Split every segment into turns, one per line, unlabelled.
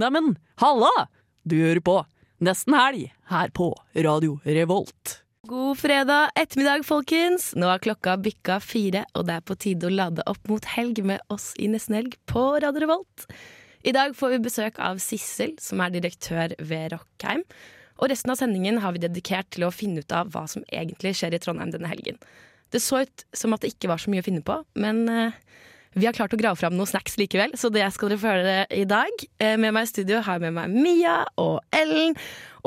Neimen, halla! Du hører på Nesten Helg her på Radio Revolt.
God fredag ettermiddag, folkens. Nå har klokka bikka fire, og det er på tide å lade opp mot helg med oss i Nesten Helg på Radio Revolt. I dag får vi besøk av Sissel, som er direktør ved Rockheim. Og resten av sendingen har vi dedikert til å finne ut av hva som egentlig skjer i Trondheim denne helgen. Det så ut som at det ikke var så mye å finne på, men eh, vi har klart å grave fram noen snacks likevel, så det skal dere få høre i dag. Eh, Med meg i studio har jeg med meg Mia og Ellen,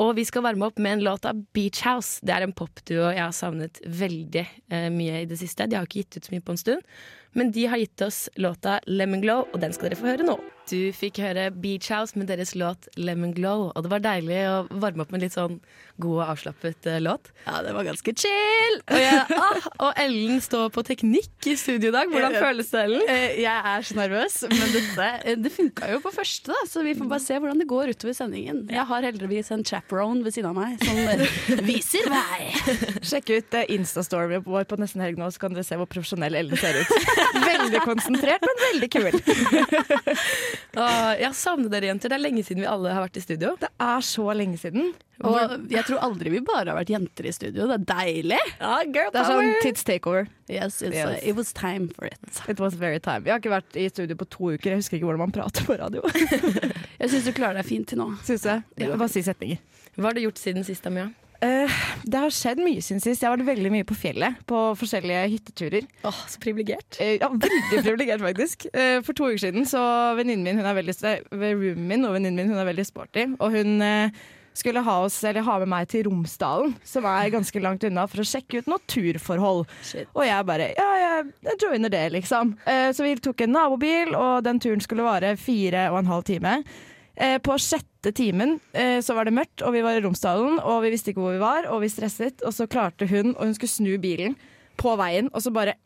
og vi skal varme opp med en låt av Beach House. Det er en popduo jeg har savnet veldig eh, mye i det siste. De har ikke gitt ut så mye på en stund, men de har gitt oss låta Lemon Glow, og den skal dere få høre nå. Du fikk høre Beach House med deres låt Lemon Glow, og det var deilig å varme opp med en litt sånn god og avslappet eh, låt.
Ja, det var ganske chill!
Og, jeg, ah, og Ellen står på teknikk i studio i dag. Hvordan
Ja.
føles det, Ellen?
Eh, Jeg er så nervøs, men dette, eh, det funka jo på første, da, så vi får bare se hvordan det går utover sendingen. Jeg har heldigvis en chaperone ved siden av meg som eh, viser vei.
Sjekk ut eh, Insta-storyen vår på nesten helg nå, så kan dere se hvor profesjonell Ellen ser ut. Veldig konsentrert, men veldig kul.
Åh, Ah, jeg savner dere, jenter. Det er lenge siden vi alle har vært i studio.
Det er så lenge siden.
Og jeg tror aldri vi bare har vært jenter i studio. Det er deilig!
Det er sånn tids takeover.
Yes, it's, uh,
Yes.
It was time for it.
It was very time. Jeg har ikke vært i studio på to uker, jeg husker ikke hvordan man prater på radio.
Jeg syns du klarer deg fint til nå.
Synes jeg. Bare si setninger.
Hva har du gjort siden sist, Amia?
Eh, det har skjedd mye siden sist. Jeg har vært veldig mye på fjellet, på forskjellige hytteturer.
Åh, så privilegert.
Eh, ja, veldig privilegert, faktisk. Eh, for to uker siden så venninnen min hun er veldig eh, Roomien min og venninnen min hun er veldig sporty. Og hun eh, skulle ha, oss, eller ha med meg til Romsdalen, som er ganske langt unna, for å sjekke ut naturforhold.
Shit.
Og jeg bare Ja, jeg, jeg joiner det, liksom. Eh, så vi tok en nabobil, og den turen skulle vare fire og en halv time. Eh, på sjette timen eh, så var det mørkt, og vi var i Romsdalen, og vi visste ikke hvor vi var, og vi stresset, og så klarte hun, og hun skulle snu bilen på veien, og så bare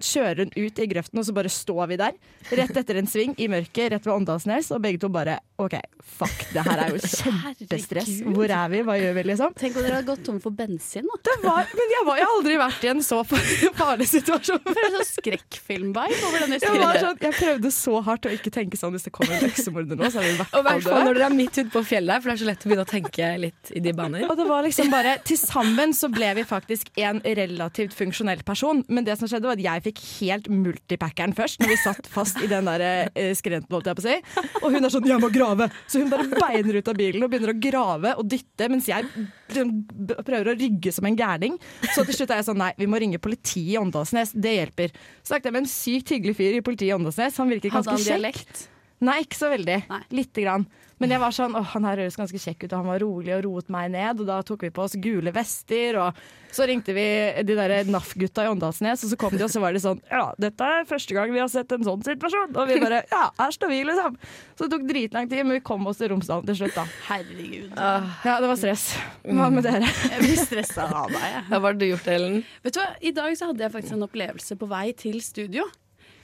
kjører hun ut i grøften, og så bare står vi der, rett etter en sving i mørket, rett ved Åndalsnes, og begge to bare OK, fuck, det her er jo kjempestress. Hvor er vi? Hva gjør vi, liksom?
Tenk om dere hadde gått tom for bensin. da
Det var, men jeg, var, jeg har aldri vært i en så farlig situasjon.
Det er sånn skrekkfilm-vibe over denne
Jeg, var
skrinen.
sånn, jeg prøvde så hardt å ikke tenke sånn hvis det kommer en øksemorder nå, så er vi i hvert
Og i
fall
hvert fall
døde.
når dere er midt ute på fjellet, for det er så lett å begynne å tenke litt i de baner.
Og det var liksom bare, Til sammen så ble vi faktisk en relativt funksjonell person, men det som skjedde var at jeg fikk helt multipackeren først, når vi satt fast i den der eh, skrenten, holdt jeg på å si. Og hun er sånn 'jeg må grave', så hun bare beiner ut av bilen og begynner å grave og dytte, mens jeg liksom b- prøver å rygge som en gærning. Så til slutt er jeg sånn 'nei, vi må ringe politiet i Åndalsnes', det hjelper. Så snakket jeg med en sykt hyggelig fyr i politiet i Åndalsnes, han virket
Hadde
ganske
han
kjekk.
dialekt?
Nei, ikke så veldig.
Nei.
Lite grann. Men jeg var sånn, åh, han her høres ganske kjekk ut, og han var rolig og roet meg ned. Og da tok vi på oss gule vester, og så ringte vi de der NAF-gutta i Åndalsnes, og så kom de, og så var de sånn Ja, dette er første gang vi har sett en sånn situasjon. Og vi bare Ja, her står vi, liksom. Så det tok dritlang tid, men vi kom oss til Romsdalen til slutt, da.
Herregud.
Ja, det var stress. Hva med dere?
Jeg blir stressa av deg. jeg.
Hva har du gjort, Ellen?
Vet du hva, I dag så hadde jeg faktisk en opplevelse på vei til studio.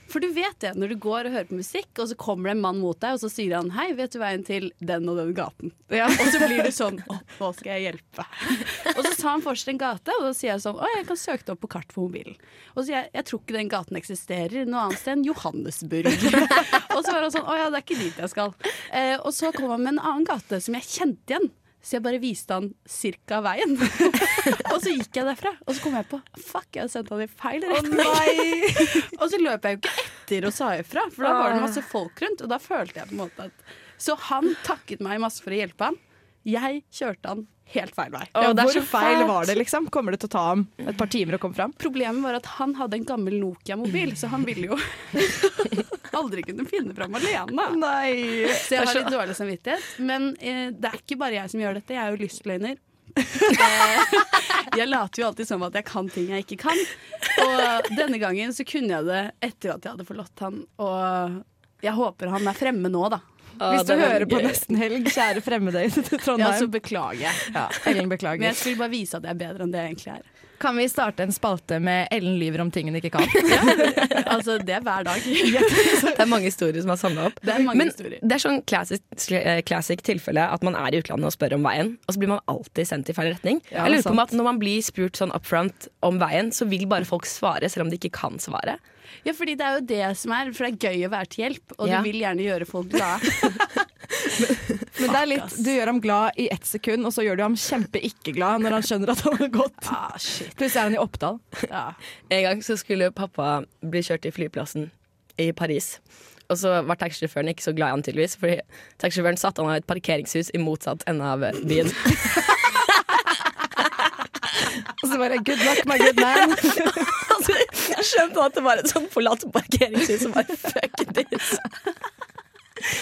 For du vet det, når du går og hører på musikk, og så kommer det en mann mot deg, og så sier han 'hei, vet du veien til den og den gaten'? Og så blir du sånn 'å, nå skal jeg hjelpe'. og så sa han fortsatt en gate, og da sier jeg sånn 'å, jeg kan søke det opp på kart på mobilen'. Og så sier jeg 'jeg tror ikke den gaten eksisterer noe annet sted enn Johannesburg'. og så var han sånn 'å ja, det er ikke dit jeg skal'. Eh, og så kom han med en annen gate som jeg kjente igjen. Så jeg bare viste han cirka veien. Og så gikk jeg derfra, og så kom jeg på Fuck, jeg har sendt han i feil retning. og så løp jeg jo ikke etter og sa ifra, for da var det masse folk rundt. Og da følte jeg på en måte at Så han takket meg masse for å hjelpe han. Jeg kjørte han helt feil vei.
Åh, det er
Hvor
så
feil
fælt.
var det, liksom? Kommer det til å ta ham et par timer å komme fram?
Problemet var at han hadde en gammel Nokia-mobil, så han ville jo aldri kunne finne fram alene.
Nei.
Så jeg har litt dårlig samvittighet. Men eh, det er ikke bare jeg som gjør dette, jeg er jo lystløgner. Eh, jeg later jo alltid som at jeg kan ting jeg ikke kan. Og denne gangen så kunne jeg det etter at jeg hadde forlatt han. Og jeg håper han er fremme nå, da.
Hvis du hører på Nesten helg, kjære fremmede i Trondheim.
Ja, så beklager jeg.
Ja, Ellen
Men
beklager.
jeg skulle bare vise at jeg er bedre enn det jeg egentlig er.
Kan vi starte en spalte med Ellen lyver om ting hun ikke kan?
Altså, det er hver dag.
Det er mange historier som er samla opp.
Det er mange
Men
historier.
det er sånn classic, eh, classic tilfelle at man er i utlandet og spør om veien, og så blir man alltid sendt i feil retning.
Ja,
jeg lurer på
sant.
om at Når man blir spurt sånn up front om veien, så vil bare folk svare selv om de ikke kan svare.
Ja, fordi det er jo det som er, for det er gøy å være til hjelp, og
Ja.
du vil gjerne gjøre folk glade.
Men det er litt, du gjør ham glad i ett sekund, og så gjør du ham kjempe-ikke-glad når han skjønner at han har gått.
Ah, shit.
Plutselig er han i Oppdal.
En gang så skulle pappa bli kjørt til flyplassen i Paris. Og så var taxisjåføren ikke så glad i han tydeligvis, fordi taxisjåføren satte han av et parkeringshus i motsatt ende av byen.
Og så bare good luck, my good man.
Altså, skjønte han at det var et sånn forlatt parkeringshus som var fuck this.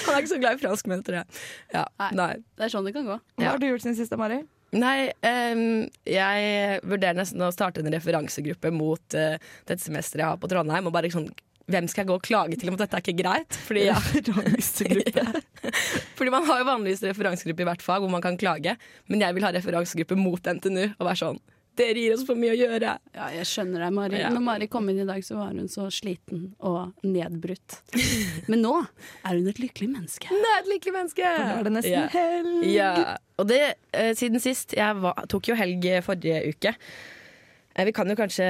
Han er ikke så glad i franskmenn, tror jeg. Ja,
Nei.
nei.
Det er sånn det kan gå.
Hva har du gjort siden sist, Mari?
Nei, ehm, jeg vurderer nesten å starte en referansegruppe mot eh, dette semesteret jeg har på Trondheim. Og bare sånn, hvem skal jeg gå og klage til om at dette er ikke greit? Fordi, ja. Fordi man har jo vanligvis referansegruppe i hvert fag hvor man kan klage. Men jeg vil ha referansegruppe mot NTNU og være sånn Dere gir oss for mye å gjøre.
Ja, jeg skjønner deg, Mari.
Ja.
Når Mari kom inn i dag, så var hun så sliten og nedbrutt. Men nå er hun et lykkelig menneske.
Nei, et lykkelig menneske!
Da Sånn er det nesten
Ja.
helg.
Ja, og det eh, siden sist. Jeg var, tok jo helg forrige uke. Eh, vi kan jo kanskje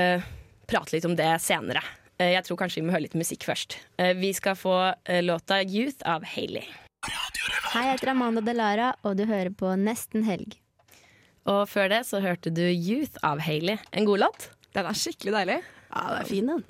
prate litt om det senere. Eh, jeg tror kanskje vi må høre litt musikk først. Eh, vi skal få eh, låta 'Youth' av Hailey.
Hei, jeg heter Amanda Delara, og du hører på Nesten helg.
Og før det så hørte du 'Youth' av Hailey. En god låt.
Den er skikkelig deilig.
Ja, det er fin den.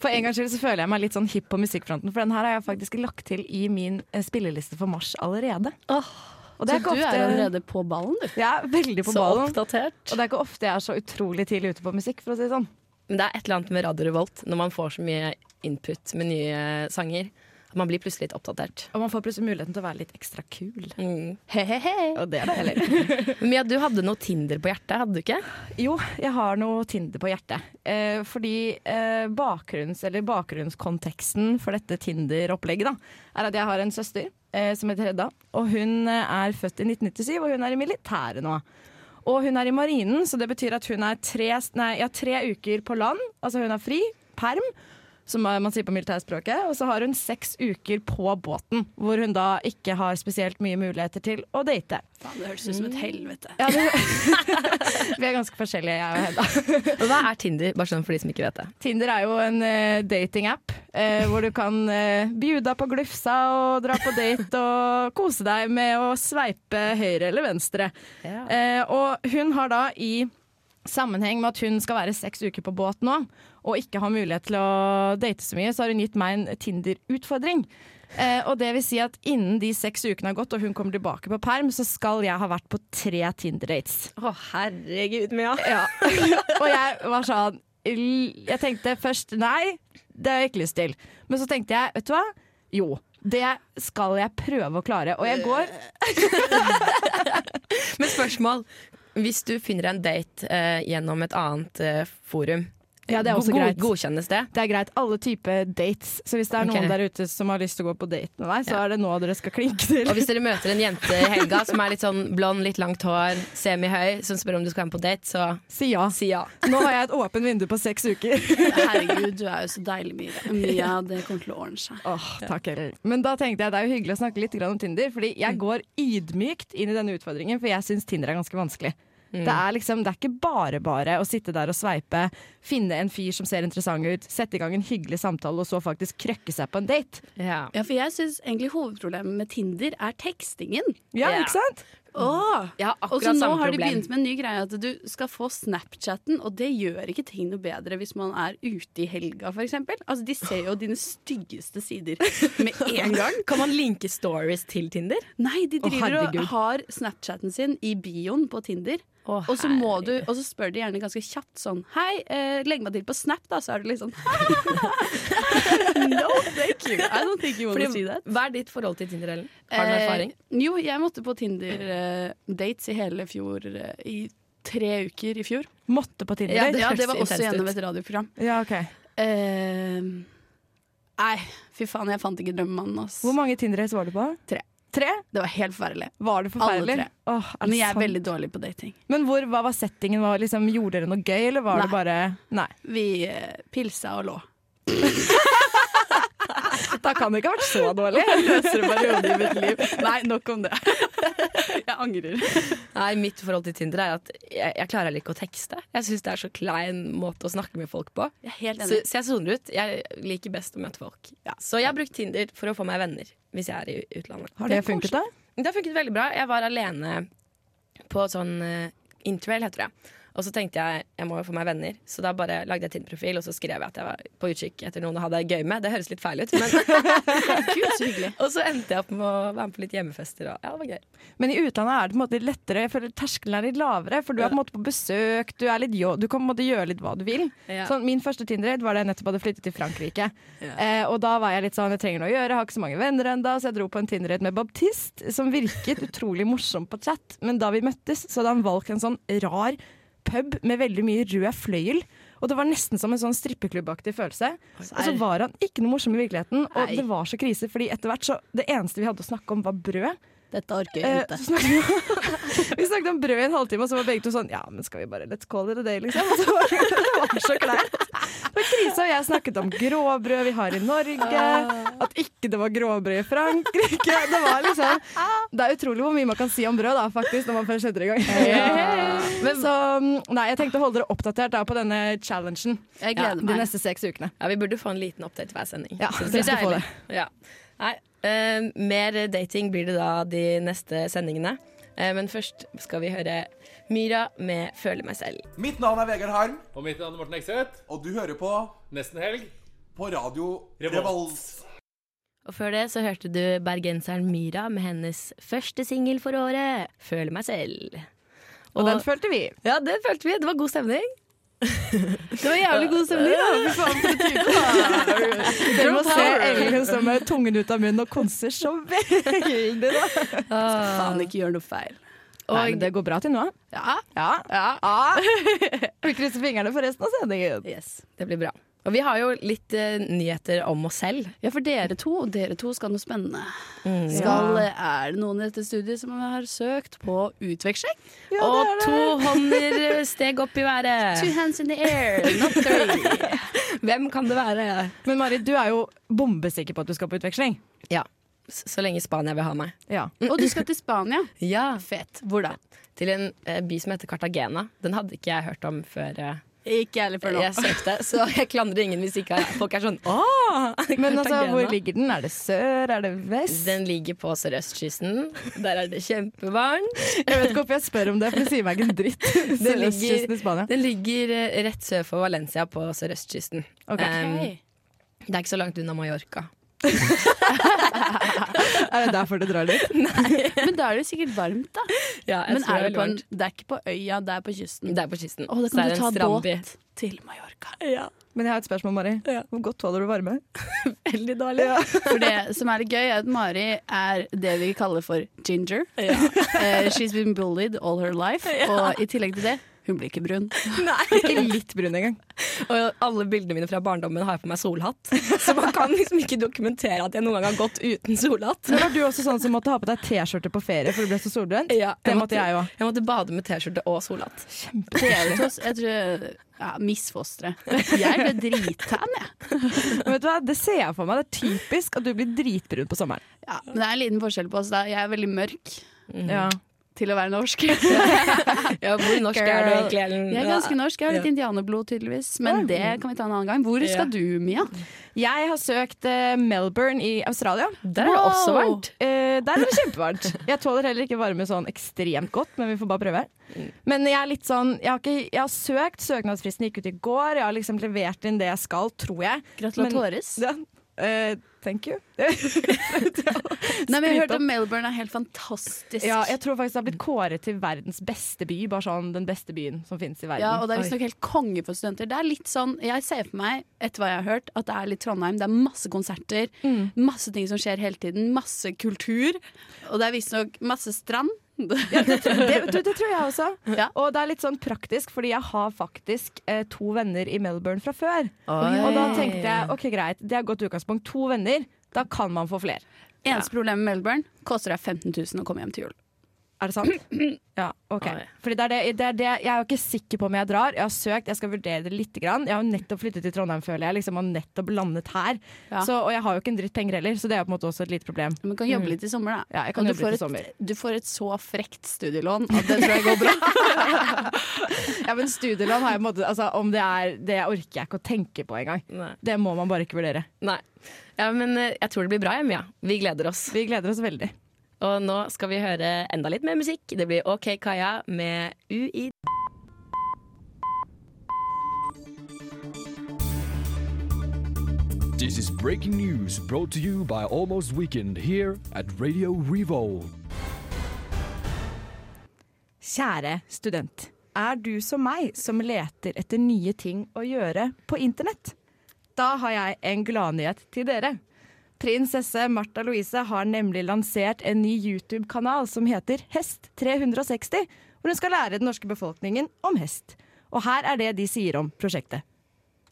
For en gangs skyld så føler jeg meg litt sånn hipp på musikkfronten, for den her har jeg faktisk lagt til i min eh, spilleliste for mars allerede. Og det
Så
er
du er
ikke
eh.
ofte
allerede på ballen, du.
Jeg er veldig på
Så
ballen.
oppdatert.
Og det er ikke ofte jeg er så utrolig tidlig ute på musikk, for å si det sånn.
Men det er et eller annet med Radio Revolt når man får så mye input med nye sanger. At man blir plutselig litt oppdatert.
Og man får plutselig muligheten til å være litt ekstra kul.
Mm.
Hehehe.
Og det er deilig. Mia, du hadde noe Tinder på hjertet, hadde du ikke?
Jo, jeg har noe Tinder på hjertet. Eh, fordi eh, bakgrunns, eller bakgrunnskonteksten for dette Tinder-opplegget da, er at jeg har en søster eh, som heter Hedda. Og hun eh, er født i 1997, og hun er i militæret nå. Og hun er i marinen, så det betyr at hun er tre, nei, ja, tre uker på land. Altså hun har fri, perm, som man sier på militærspråket. Og så har hun seks uker på båten, hvor hun da ikke har spesielt mye muligheter til å date.
Faen, det høres ut som et helvete.
Ja, det, vi er ganske forskjellige, jeg og Hedda.
Og hva er Tinder, bare sånn for de som ikke vet det?
Tinder er jo en eh, datingapp eh, hvor du kan eh, bjuda på glufsa og dra på date og kose deg med å sveipe høyre eller venstre.
Ja.
Eh, og hun har da i sammenheng med at hun skal være seks uker på båt nå og ikke har mulighet til å date så mye, så har hun gitt meg en Tinder-utfordring. Eh, og det vil si at innen de seks ukene har gått og hun kommer tilbake på perm, så skal jeg ha vært på tre Tinder-dates.
Å, herregud, Mia.
Ja. og jeg var sånn Jeg tenkte først nei, det har jeg ikke lyst til. Men så tenkte jeg, vet du hva? Jo. Det skal jeg prøve å klare. Og jeg går
Men spørsmål. Hvis du finner en date eh, gjennom et annet eh, forum,
Ja, det er også
go-
greit.
godkjennes det?
Det er greit. Alle typer dates. Så hvis det er
Ok.
noen der ute som har lyst til å gå på date med meg, så er det nå dere skal klinke
Og
til.
hvis dere møter en jente i helga som er litt sånn blond, litt langt hår, semihøy, som spør om du skal være med på date, så
Si ja.
si ja.
Nå har jeg et åpent vindu på seks uker.
Herregud, du er jo så deilig, Mia. Mia, det kommer til å ordne seg.
Åh, takk heller. Men da tenkte jeg det er jo hyggelig å snakke litt grann om Tinder, fordi
Mm.
jeg går ydmykt inn i denne utfordringen, for jeg syns Tinder er ganske vanskelig.
Mm.
Det, er liksom, det er ikke bare bare å sitte der og sveipe, finne en fyr som ser interessant ut, sette i gang en hyggelig samtale og så faktisk krøkke seg på en date.
ja.
Ja, for jeg syns egentlig hovedproblemet med Tinder er tekstingen.
Ja,
Ja.
ikke sant?
Åh!
Jeg har
Og så
akkurat
nå
samme
har de
problem.
begynt med en ny greie at du skal få Snapchatten, og det gjør ikke ting noe bedre hvis man er ute i helga, for eksempel. Altså, de ser jo dine styggeste sider med en gang.
Kan man linke stories til Tinder?
Nei, de
Å,
driver og
herregud.
har Snapchatten sin i bioen på Tinder.
Å,
Og så, må du, og så spør de gjerne ganske kjapt sånn Hei, eh, legg meg til på Snap, da. Så er du litt sånn No, thank you. I don't think you want to
Fordi,
see that.
hva er ditt forhold til Tinder, Ellen? Har du noe erfaring?
Eh, jo, jeg måtte på Tinder-dates i hele fjor eh, I tre uker i fjor.
Måtte på Tinder.
Ja,
Ja,
det
det,
hørtes
var også
intenst
gjennom
ut.
et radioprogram.
Ja, ok.
Eh, nei, fy faen, jeg fant ikke drømmemannen, ass.
Hvor mange Tinder-dates var du på?
Tre.
Tre?
Det var helt forferdelig.
Var det
Alle
forferdelig?
tre.
Åh, er det
Men jeg er
sant?
veldig dårlig på dating.
Men hvor, hva var settingen? Var, liksom, gjorde dere noe gøy, eller var
Nei.
det bare Nei.
Vi eh, pilsa og lå.
Da kan det ikke ha vært så dårlig.
Løsere periode i mitt liv. Nei, nok om det. Jeg angrer.
Nei, mitt forhold til Tinder er at jeg, jeg klarer ikke å tekste. Jeg syns det er så klein måte å snakke med folk på.
Jeg er helt
Så,
enig.
så jeg soner ut. Jeg liker best å møte folk.
Ja.
Så jeg har brukt Tinder for å få meg venner hvis jeg er i utlandet.
Har det funket, da?
Det har funket veldig bra. Jeg var alene på sånn eh, interrail, heter det. Og så tenkte jeg jeg må jo få meg venner, så da bare lagde jeg Tinder-profil og så skrev jeg at jeg var på utkikk etter noen å ha det gøy med. Det høres litt feil ut, men
Gud, så hyggelig.
Og så endte jeg opp med å være med på litt hjemmefester. Og, ja, det var gøy.
Men i utlandet er det på en måte litt lettere. Jeg føler Terskelen er litt lavere, for du er på en måte på besøk, du, er litt, jo- du kan på en måte gjøre litt hva du vil.
Ja.
Sånn, min første Tinder-date var da jeg nettopp hadde flyttet til Frankrike. Eh, og da var jeg litt sånn, jeg trenger noe å gjøre, jeg har ikke så mange venner ennå, så jeg dro på en Tinder-date med Baptist, som virket utrolig morsom på chat. Men da vi møttes, så hadde han valgt en sånn rar pub med veldig mye rød fløyel. Og det var nesten som en sånn strippeklubbaktig følelse. Og så var han ikke noe morsom i virkeligheten, og det var så krise, fordi etter hvert så Det eneste vi hadde å snakke om, var brød.
Dette orker
Eh, så snakket vi, vi snakket om brød i en halvtime, og så var begge to sånn Ja, men skal vi bare let's call it a day, liksom? Og så var det var så kleint. Det var krise, og jeg snakket om gråbrød vi har i Norge.
Ah.
At ikke det var gråbrød i Frankrike. Det var liksom Det er utrolig hvor mye man kan si om brød, da, faktisk, når man først setter i gang. Men så mm, Nei, jeg tenkte å holde dere oppdatert da på denne challengen
Ja,
Jeg gleder
de
meg.
neste seks ukene.
Ja, vi burde få en liten update hver sending.
Ja,
Så
dere skal
er
få
deilig. Ja. Nei, eh, mer dating blir det da de neste sendingene. Eh, men først skal vi høre Myra med 'Føle meg selv'.
Mitt navn er Vegard Harm,
Og mitt navn er Morten Ekseth.
og du hører på
Nesten helg.
på radio
Revolt.
Revolt.
Og før det så hørte du bergenseren Myra med hennes første singel for året, 'Føle meg selv'.
Og den følte vi.
ja, det følte vi. Det var god stemning.
Det var jævlig god stemning, da. Fy faen, for en type, da.
Dere må se Ellen som med tungen ut av munnen og konser så veldig, da.
Faen, ikke gjør noe feil.
Nei, men det går bra til nå.
Ja.
Ja. Ja. Vi krysser fingrene for resten av sendingen.
Yes.
Det blir bra. Og vi har jo litt eh, nyheter om oss selv.
Ja, for dere to, dere to skal noe spennende.
Mm,
Skal, eh, Er det noen i dette studiet som har søkt på utveksling?
og to hånder eh, steg opp i været.
Two hands in the air, not three.
Hvem kan det være?
Men Marit, du er jo bombesikker på at du skal på utveksling.
Ja. S- Så lenge Spania vil ha meg.
Ja.
Og du skal til Spania.
Ja,
Fett. Hvor da?
Til en eh, by som heter Cartagena. Den hadde ikke jeg hørt om før eh,
Ikke jeg heller før nå.
jeg søkte, så jeg klandrer ingen hvis ikke folk er sånn Å!
Men altså,
Cartagena.
hvor ligger den? Er det sør? Er det vest?
Den ligger på sørøstkysten. Der er det kjempevarmt.
Jeg vet ikke hvorfor jeg spør om det, for det sier meg ikke en dritt.
Den
Sørøstkysten i Spania.
Den ligger eh, rett sør for Valencia på sørøstkysten.
Ok.
Em, det er ikke så langt unna Mallorca.
Er det derfor du drar dit?
Men da er det sikkert varmt, da.
Ja, jeg
Men
tror
er det,
veldig
på en,
varmt.
det er ikke på øya, det er på kysten.
Det er på kysten.
Å, da
Så er
kan du
det en
ta
strandby.
båt til Mallorca.
Men jeg har et spørsmål, Mari. Hvor godt tåler du varme?
Veldig dårlig.
For det som er litt gøy, er at Mari er det vi kaller for ginger. Eh, she's been bullied all her life. Og i tillegg til det, hun blir ikke brun.
Ikke litt brun engang.
Og alle bildene mine fra barndommen har jeg på meg solhatt. Så man kan liksom ikke dokumentere at jeg noen gang har gått uten solhatt.
Men var du også sånn som måtte ha på deg T-skjorte på ferie for du ble så solbrent?
Ja,
Det måtte jeg òg.
Jeg måtte bade med T-skjorte og solhatt.
Dere to, jeg tror ja, Misfostre. Jeg ble drittan, jeg.
Vet du hva, det ser jeg for meg. Det er typisk at du blir dritbrun på sommeren.
Ja, men det er en liten forskjell på oss. da Jeg er veldig mørk
Ja.
til å være norsk.
Ja, hvor norsk er du
Girl.
egentlig, Ellen?
Jeg er ganske norsk. Jeg har litt indianerblod, tydeligvis. Men det kan vi ta en annen gang. Hvor skal du, Mia?
Jeg har søkt eh, Melbourne i Australia.
Der er det også
Wow.
varmt.
Eh, der er det kjempevarmt. Jeg tåler heller ikke varme sånn ekstremt godt, men vi får bare prøve. Men jeg er litt sånn Jeg har, ikke, jeg har søkt, søknadsfristen gikk ut i går. Jeg har liksom levert inn det jeg skal, tror jeg.
Gratulatores.
Ja. Eh, thank you.
Nei, men jeg
skryt
hørte
opp.
om Melbourne er helt fantastisk.
Ja, jeg tror faktisk det har blitt kåret til verdens beste by. Bare sånn den beste byen som finnes i verden.
Ja, og det er visstnok helt konge for studenter. Det er litt sånn, Jeg ser for meg, etter hva jeg har hørt, at det er litt Trondheim. Det er masse konserter,
Mm.
masse ting som skjer hele tiden, masse kultur. Og det er visstnok masse strand.
det, du, det tror jeg også.
Ja.
Og det er litt sånn praktisk, fordi jeg har faktisk eh, to venner i Melbourne fra før. Og da tenkte jeg ok greit, det er godt utgangspunkt. To venner, da kan man få flere.
Eneste problemet med Melbourne koster deg 15 000 å komme hjem til jul.
Er det sant? Ja, ok.
Oi.
Fordi det er det, det er det, jeg er jo ikke sikker på om jeg drar. Jeg har søkt, jeg skal vurdere det litt. Grann. Jeg har jo nettopp flyttet til Trondheim, føler jeg. Liksom, og nettopp landet her.
Ja.
Så, og jeg har jo ikke en dritt penger heller, så det er jo på en måte også et lite problem.
Men du kan jobbe litt i sommer, da.
Mm. Ja, jeg kan
Og du
jobbe litt
får
i
et-
sommer.
Du får et så frekt studielån at det tror jeg går bra.
Ja, men studielån har jeg på en måte altså, Om det er det orker jeg ikke å tenke på engang.
Nei.
Det må man bare ikke vurdere.
Nei. Ja, men eh, jeg tror det blir bra, Emia. Vi gleder oss.
Vi gleder oss veldig.
Og nå skal vi høre enda litt mer musikk. Det blir OK Kaja med UI.
This is breaking news brought to you by Almost Weekend here at Radio Revolt.
Kjære student. Er du som meg som leter etter nye ting å gjøre på internett? Da har jeg en gladnyhet til dere. Prinsesse Martha Louise har nemlig lansert en ny YouTube-kanal som heter Hest 360, hvor hun skal lære den norske befolkningen om hest. Og her er det de sier om prosjektet.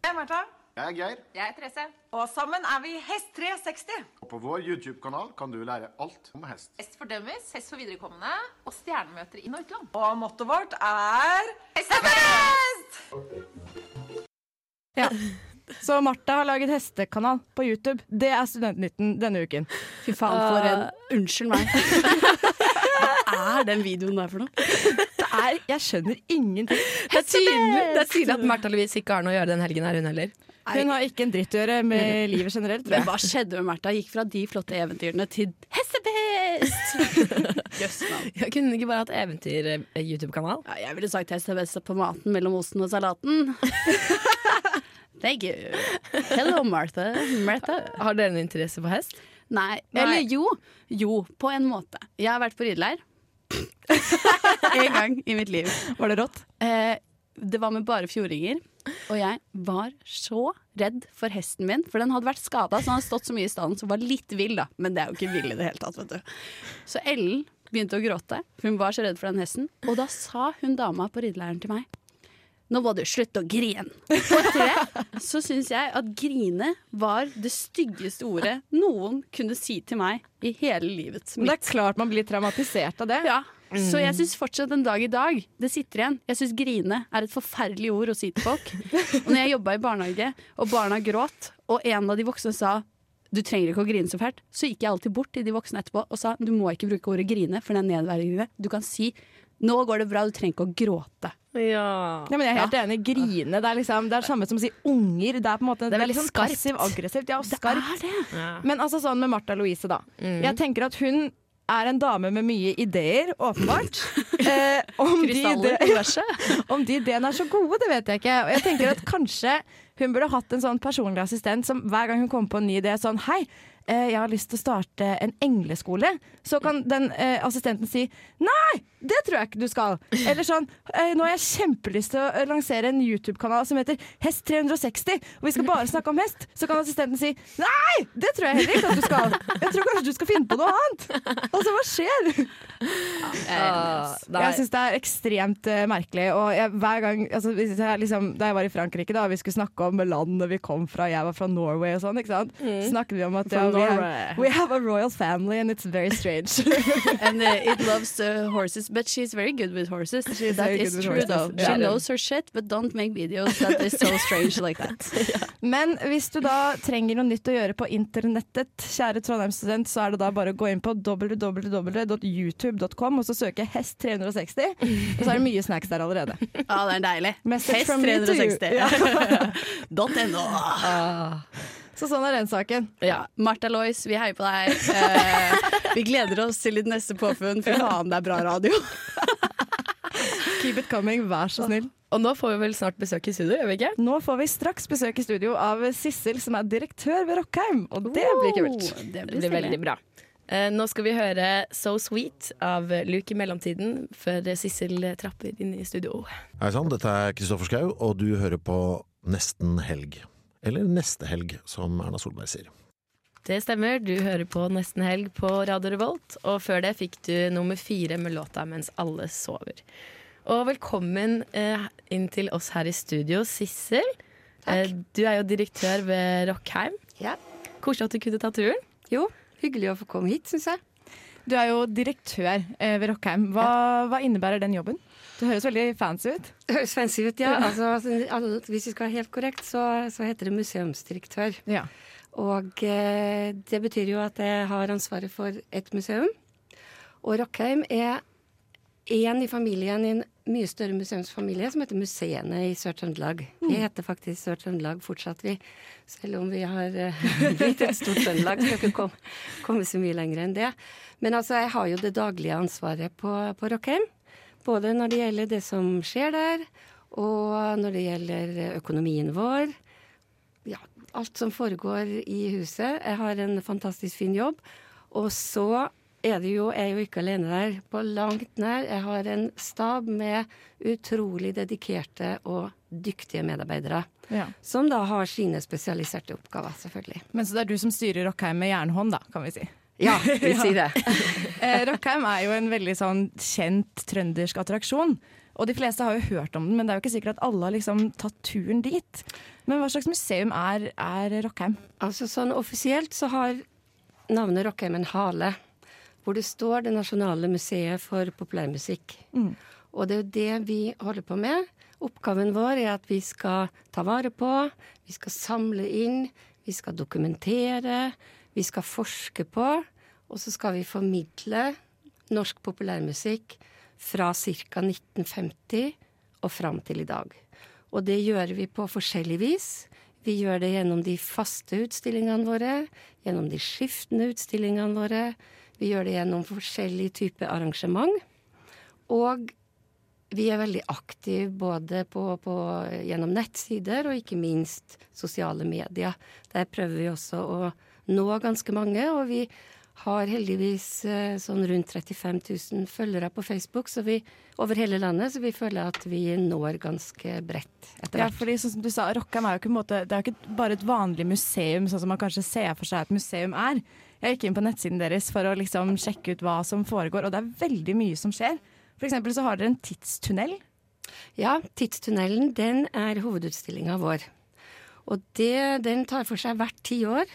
Jeg er Martha.
Jeg er Geir,
Jeg er Therese. Og sammen er vi Hest 360.
og på vår YouTube-kanal kan du lære alt om hest.
Hest fordømmes, hest for viderekommende og stjernemøter i Nortland. Og mottoet vårt er Hest er best!
Så Martha har laget hestekanal på YouTube. Det er Studentnytten denne uken.
Fy faen, for
Ah.
en Unnskyld meg. Hva er den videoen der for noe?
Det er, jeg skjønner ingenting.
Det er tydelig, det er tydelig at Märtha Louise ikke har noe å gjøre den helgen her, hun heller.
Hun har ikke en dritt å gjøre med livet generelt, tror
Men
jeg.
hva skjedde med Märtha? Gikk fra de flotte eventyrene til hestebest! Jøss, navn.
Jeg kunne ikke bare hatt eh, eventyr-YouTube-kanal.
Ja, jeg ville sagt hest er best på maten mellom osten og salaten. Thank you. Hello, Martha. Martha.
Har dere noen interesse for hest?
Nei,
Nei.
eller jo. Jo, på en måte. Jeg har vært på rideleir. en gang i mitt liv.
Var det rått?
Eh, det var med bare fjordinger. Og jeg var så redd for hesten min, for den hadde vært skada. Så den hadde stått så mye i stallen, så den var litt vill, da. Men det er jo ikke vill i det hele tatt, vet du. Så Ellen begynte å gråte, for hun var så redd for den hesten. Og da sa hun dama på rideleiren til meg nå må du slutte å grine. Og etter det så syns jeg at grine var det styggeste ordet noen kunne si til meg i hele livet
Men det er klart man blir traumatisert av det.
ja. Så jeg syns fortsatt en dag i dag, det sitter igjen. Jeg syns grine er et forferdelig ord å si til folk. Og når jeg jobba i barnehage, og barna gråt, og en av de voksne sa du trenger ikke å grine så fælt, så gikk jeg alltid bort til de voksne etterpå og sa du må ikke bruke ordet grine, for det er nedverdigende. Du kan si nå går det bra, du trenger ikke å gråte.
Ja.
Ja, men jeg er helt enig. Grine. Det er liksom, det er det samme som å si unger. Det er på en måte
Det er
veldig
veldig
sånn
skarpt.
passiv-aggressivt. Ja, og skarpt.
det?
Men altså sånn med Martha Louise, da. Jeg tenker at hun er en dame med mye ideer, åpenbart. Eh, om, de
Krystaller
ide-
på verset.
om de ideene er så gode, det vet jeg ikke. Og jeg tenker at kanskje hun burde hatt en sånn personlig assistent som hver gang hun kommer på en ny idé, sånn hei. eh, Jeg har lyst til å starte en engleskole. Så kan den eh, assistenten si nei, det tror jeg ikke du skal. Eller sånn eh, nå har jeg kjempelyst til å eh, lansere en YouTube-kanal som heter Hest 360, og vi skal bare snakke om hest. Så kan assistenten si nei, det tror jeg heller ikke at du skal. Jeg tror kanskje du skal finne på noe annet. Altså hva skjer?
Ah, det
Jeg
er,
syns det er ekstremt eh, merkelig. Og jeg, hver gang, altså, hvis jeg, liksom, da jeg var i Frankrike, da, og vi skulle snakke om landet vi kom fra, jeg var fra Norway og sånn, ikke sant?
Mm.
snakket vi om at ja, we, have, we have a royal family and it's very strange.
And uh, it loves uh, horses, but she's very good with horses.
She's
that
very
is
good with
true,
horses.
though.
Ja.
She knows her shit, but don't make videos that is so strange like that.
Men hvis du da trenger noe nytt å gjøre på internettet, kjære Trondheim-student, så er det da bare å gå inn på www.youtube.com og så søke Hest 360. Og så er det mye snacks der allerede.
Ja, det er deilig.
Message
Hest
from me to you.
360. .no.
Så sånn er den saken.
Ja. Martha Lois, vi heier på deg. Eh, vi gleder oss til ditt neste påfunn. Fy faen, det er bra radio.
Keep it coming, vær så snill.
og nå får vi vel snart besøk i studio, gjør vi ikke?
Nå får vi straks besøk i studio av Sissel, som er direktør ved Rockheim. Og det blir kult.
Oh, Det
Det blir veldig bra. Eh, nå skal vi høre So Sweet av Luke i mellomtiden, før Sissel trapper inn i studio.
Hei sann, dette er Kristoffer Schau, og du hører på Nesten helg. Eller Neste helg, som Erna Solberg sier.
Det stemmer. Du hører på Nesten helg på Radio Revolt. Og før det fikk du nummer fire med låta 'Mens alle sover'. Og velkommen eh, inn til oss her i studio, Sissel. Eh, du er jo direktør ved Rockheim.
Ja.
Koselig at du kunne ta turen.
Jo, hyggelig å få komme hit, syns jeg.
Du er jo direktør eh, ved Rockheim. Hva, hva innebærer den jobben? Det høres veldig fancy ut.
Det høres fancy ut, ja. Altså, alle- hvis vi skal være helt korrekt, så, så heter det museumsdirektør.
Ja.
Og eh, det betyr jo at jeg har ansvaret for ett museum. Og Rockheim er
én i familien i en mye større museumsfamilie som heter Museene i Sør-Trøndelag. Vi heter faktisk Sør-Trøndelag fortsatt, vi. Selv om vi har eh, blitt et stort Trøndelag, skal ikke komme, komme så mye lenger enn det. Men altså, jeg har jo det daglige ansvaret på, på Rockheim. Både når det gjelder det som skjer der, og når det gjelder økonomien vår. Ja, alt som foregår i huset. Jeg har en fantastisk fin jobb. Og så er det jo, jeg er jo ikke alene der på langt nær. Jeg har en stab med utrolig dedikerte og dyktige medarbeidere.
Ja.
Som da har sine spesialiserte oppgaver, selvfølgelig.
Men så det er du som styrer Rockheim med jernhånd, da, kan vi si.
Ja, vi sier det.
Eh, Rockheim er jo en veldig sånn kjent trøndersk attraksjon. Og de fleste har jo hørt om den, men det er jo ikke sikkert at alle har liksom tatt turen dit. Men hva slags museum er, er Rockheim?
Altså sånn offisielt så har navnet Rockheim en hale. Hvor det står Det nasjonale museet for populærmusikk.
Mm.
Og det er jo det vi holder på med. Oppgaven vår er at vi skal ta vare på, vi skal samle inn, vi skal dokumentere, vi skal forske på, og så skal vi formidle norsk populærmusikk fra ca. 1950 og fram til i dag. Og det gjør vi på forskjellig vis. Vi gjør det gjennom de faste utstillingene våre, gjennom de skiftende utstillingene våre. Vi gjør det gjennom forskjellig type arrangement. Og vi er veldig aktive både på, på, gjennom nettsider og ikke minst sosiale medier. Der prøver vi også å nå ganske mange, og vi har heldigvis eh, sånn rundt 35 000 følgere på Facebook så vi, over hele landet, så vi føler at vi når ganske bredt etter
Ja,
hvert.
fordi sånn som du sa, Rockheim er jo ikke, en måte, det er jo ikke bare et vanlig museum, sånn som man kanskje ser for seg et museum er. Jeg gikk inn på nettsiden deres for å liksom sjekke ut hva som foregår, og det er veldig mye som skjer. For eksempel så har dere en tidstunnel.
Ja, Tidstunnelen den er hovedutstillinga vår. Og det, den tar for seg hvert tiår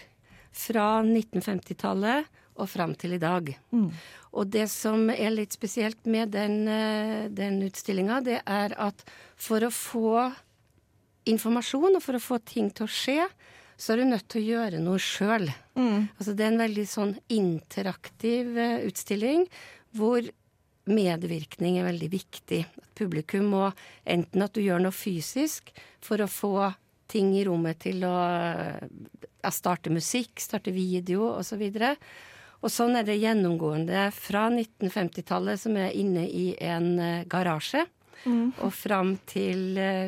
fra 1950-tallet og fram til i dag. Og det som er litt spesielt med den, eh, den utstillinga, det er at for å få informasjon og for å få ting til å skje, så er du nødt til å gjøre noe sjøl. Altså, det er en veldig sånn interaktiv eh, utstilling hvor medvirkning er veldig viktig. At publikum må enten at du gjør noe fysisk for å få ting i rommet til å eh, ja, starte musikk, starte video osv. Og sånn er det gjennomgående fra 1950-tallet, som er inne i en eh, garasje,
Mm.
og fram til eh,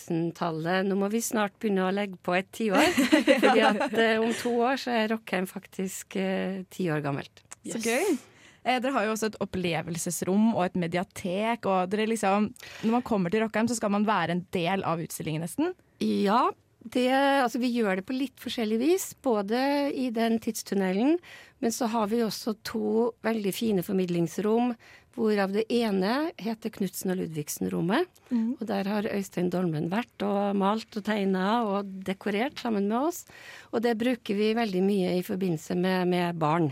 2000-tallet. Nå må vi snart begynne å legge på et tiår, fordi at eh, om to år så er Rockheim faktisk eh, ti år gammelt.
Så gøy. Eh, dere har jo også et opplevelsesrom og et mediatek, og dere liksom Når man kommer til Rockheim, så skal man være en del av utstillingen nesten.
Ja, det, altså vi gjør det på litt forskjellig vis, både i den tidstunnelen, men så har vi også to veldig fine formidlingsrom, hvorav det ene heter Knutsen og Ludvigsen-rommet.
Mhm.
Og der har Øystein Dolmen vært og malt og tegna og dekorert sammen med oss. Og det bruker vi veldig mye i forbindelse med, med barn.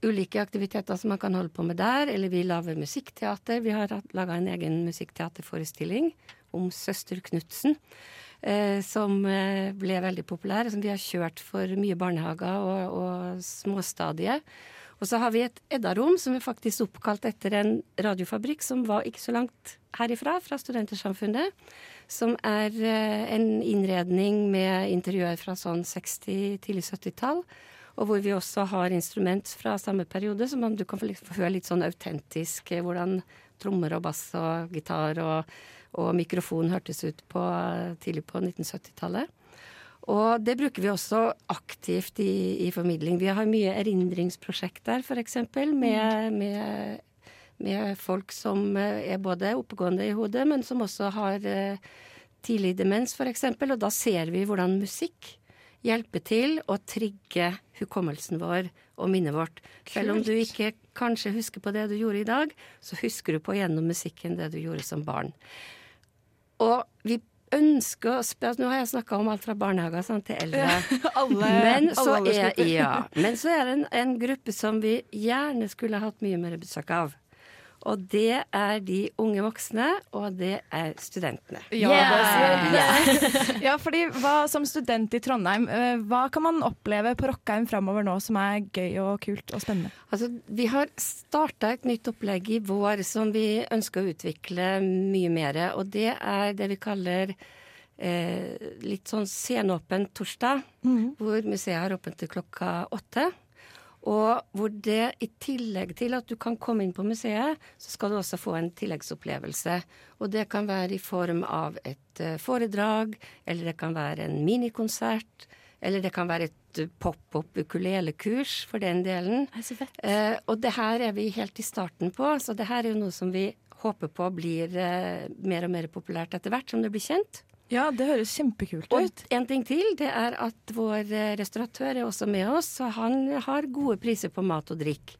Ulike aktiviteter som man kan holde på med der, eller vi lager musikkteater. Vi har laga en egen musikkteaterforestilling om Søster Knutsen, eh, som eh, ble veldig populær, og som vi har kjørt for mye barnehager og, og småstadier. Og så har vi et Edda-rom som er faktisk oppkalt etter en radiofabrikk som var ikke så langt herifra, fra Studentersamfunnet. Som er eh, en innredning med interiør fra sånn 60-, tidlig 70-tall. Og hvor vi også har instrument fra samme periode, så man, du kan få, litt- få høre litt sånn autentisk eh, hvordan trommer og bass og gitar og, og mikrofon hørtes ut på, tidlig på 1970-tallet. Og det bruker vi også aktivt i, i formidling. Vi har mye erindringsprosjekt der, f.eks. Med, med, med folk som eh, er både oppegående i hodet, men som også har eh, tidlig demens, f.eks. Og da ser vi hvordan musikk hjelper til å trigge hukommelsen vår og minnet vårt. Selv om
Kult.
du ikke kanskje husker på det du gjorde i dag, så husker du på gjennom musikken det du gjorde som barn. Og vi ønsker å spørre Nå har jeg snakka om alt fra barnehager sant, til eldre. men, så
alle
er,
aldersgrupper.
ja, men så er det en, en gruppe som vi gjerne skulle hatt mye mer besøk av. Og det er de unge voksne, og det er studentene.
Ja, det sier vi. ja fordi hva, som student i Trondheim, eh, hva kan man oppleve på Rockheim framover nå som er gøy og kult og spennende?
Altså, vi har starta et nytt opplegg i vår som vi ønsker å utvikle mye mer. Og det er det vi kaller eh, litt sånn senåpen torsdag,
Mhm.
hvor museet har åpent til klokka åtte. Og hvor det i tillegg til at du kan komme inn på museet, så skal du også få en tilleggsopplevelse. Og det kan være i form av et eh, foredrag, eller det kan være en minikonsert. Eller det kan være et eh, pop-opp ukulelekurs, for den delen. Eh, og det her er vi helt i starten på, så det her er jo noe som vi håper på blir eh, mer og mer populært etter hvert som det blir kjent.
Ja, det høres kjempekult
ut. Og en ting til, det er at vår eh, restauratør er også med oss, og han har gode priser på mat og drikk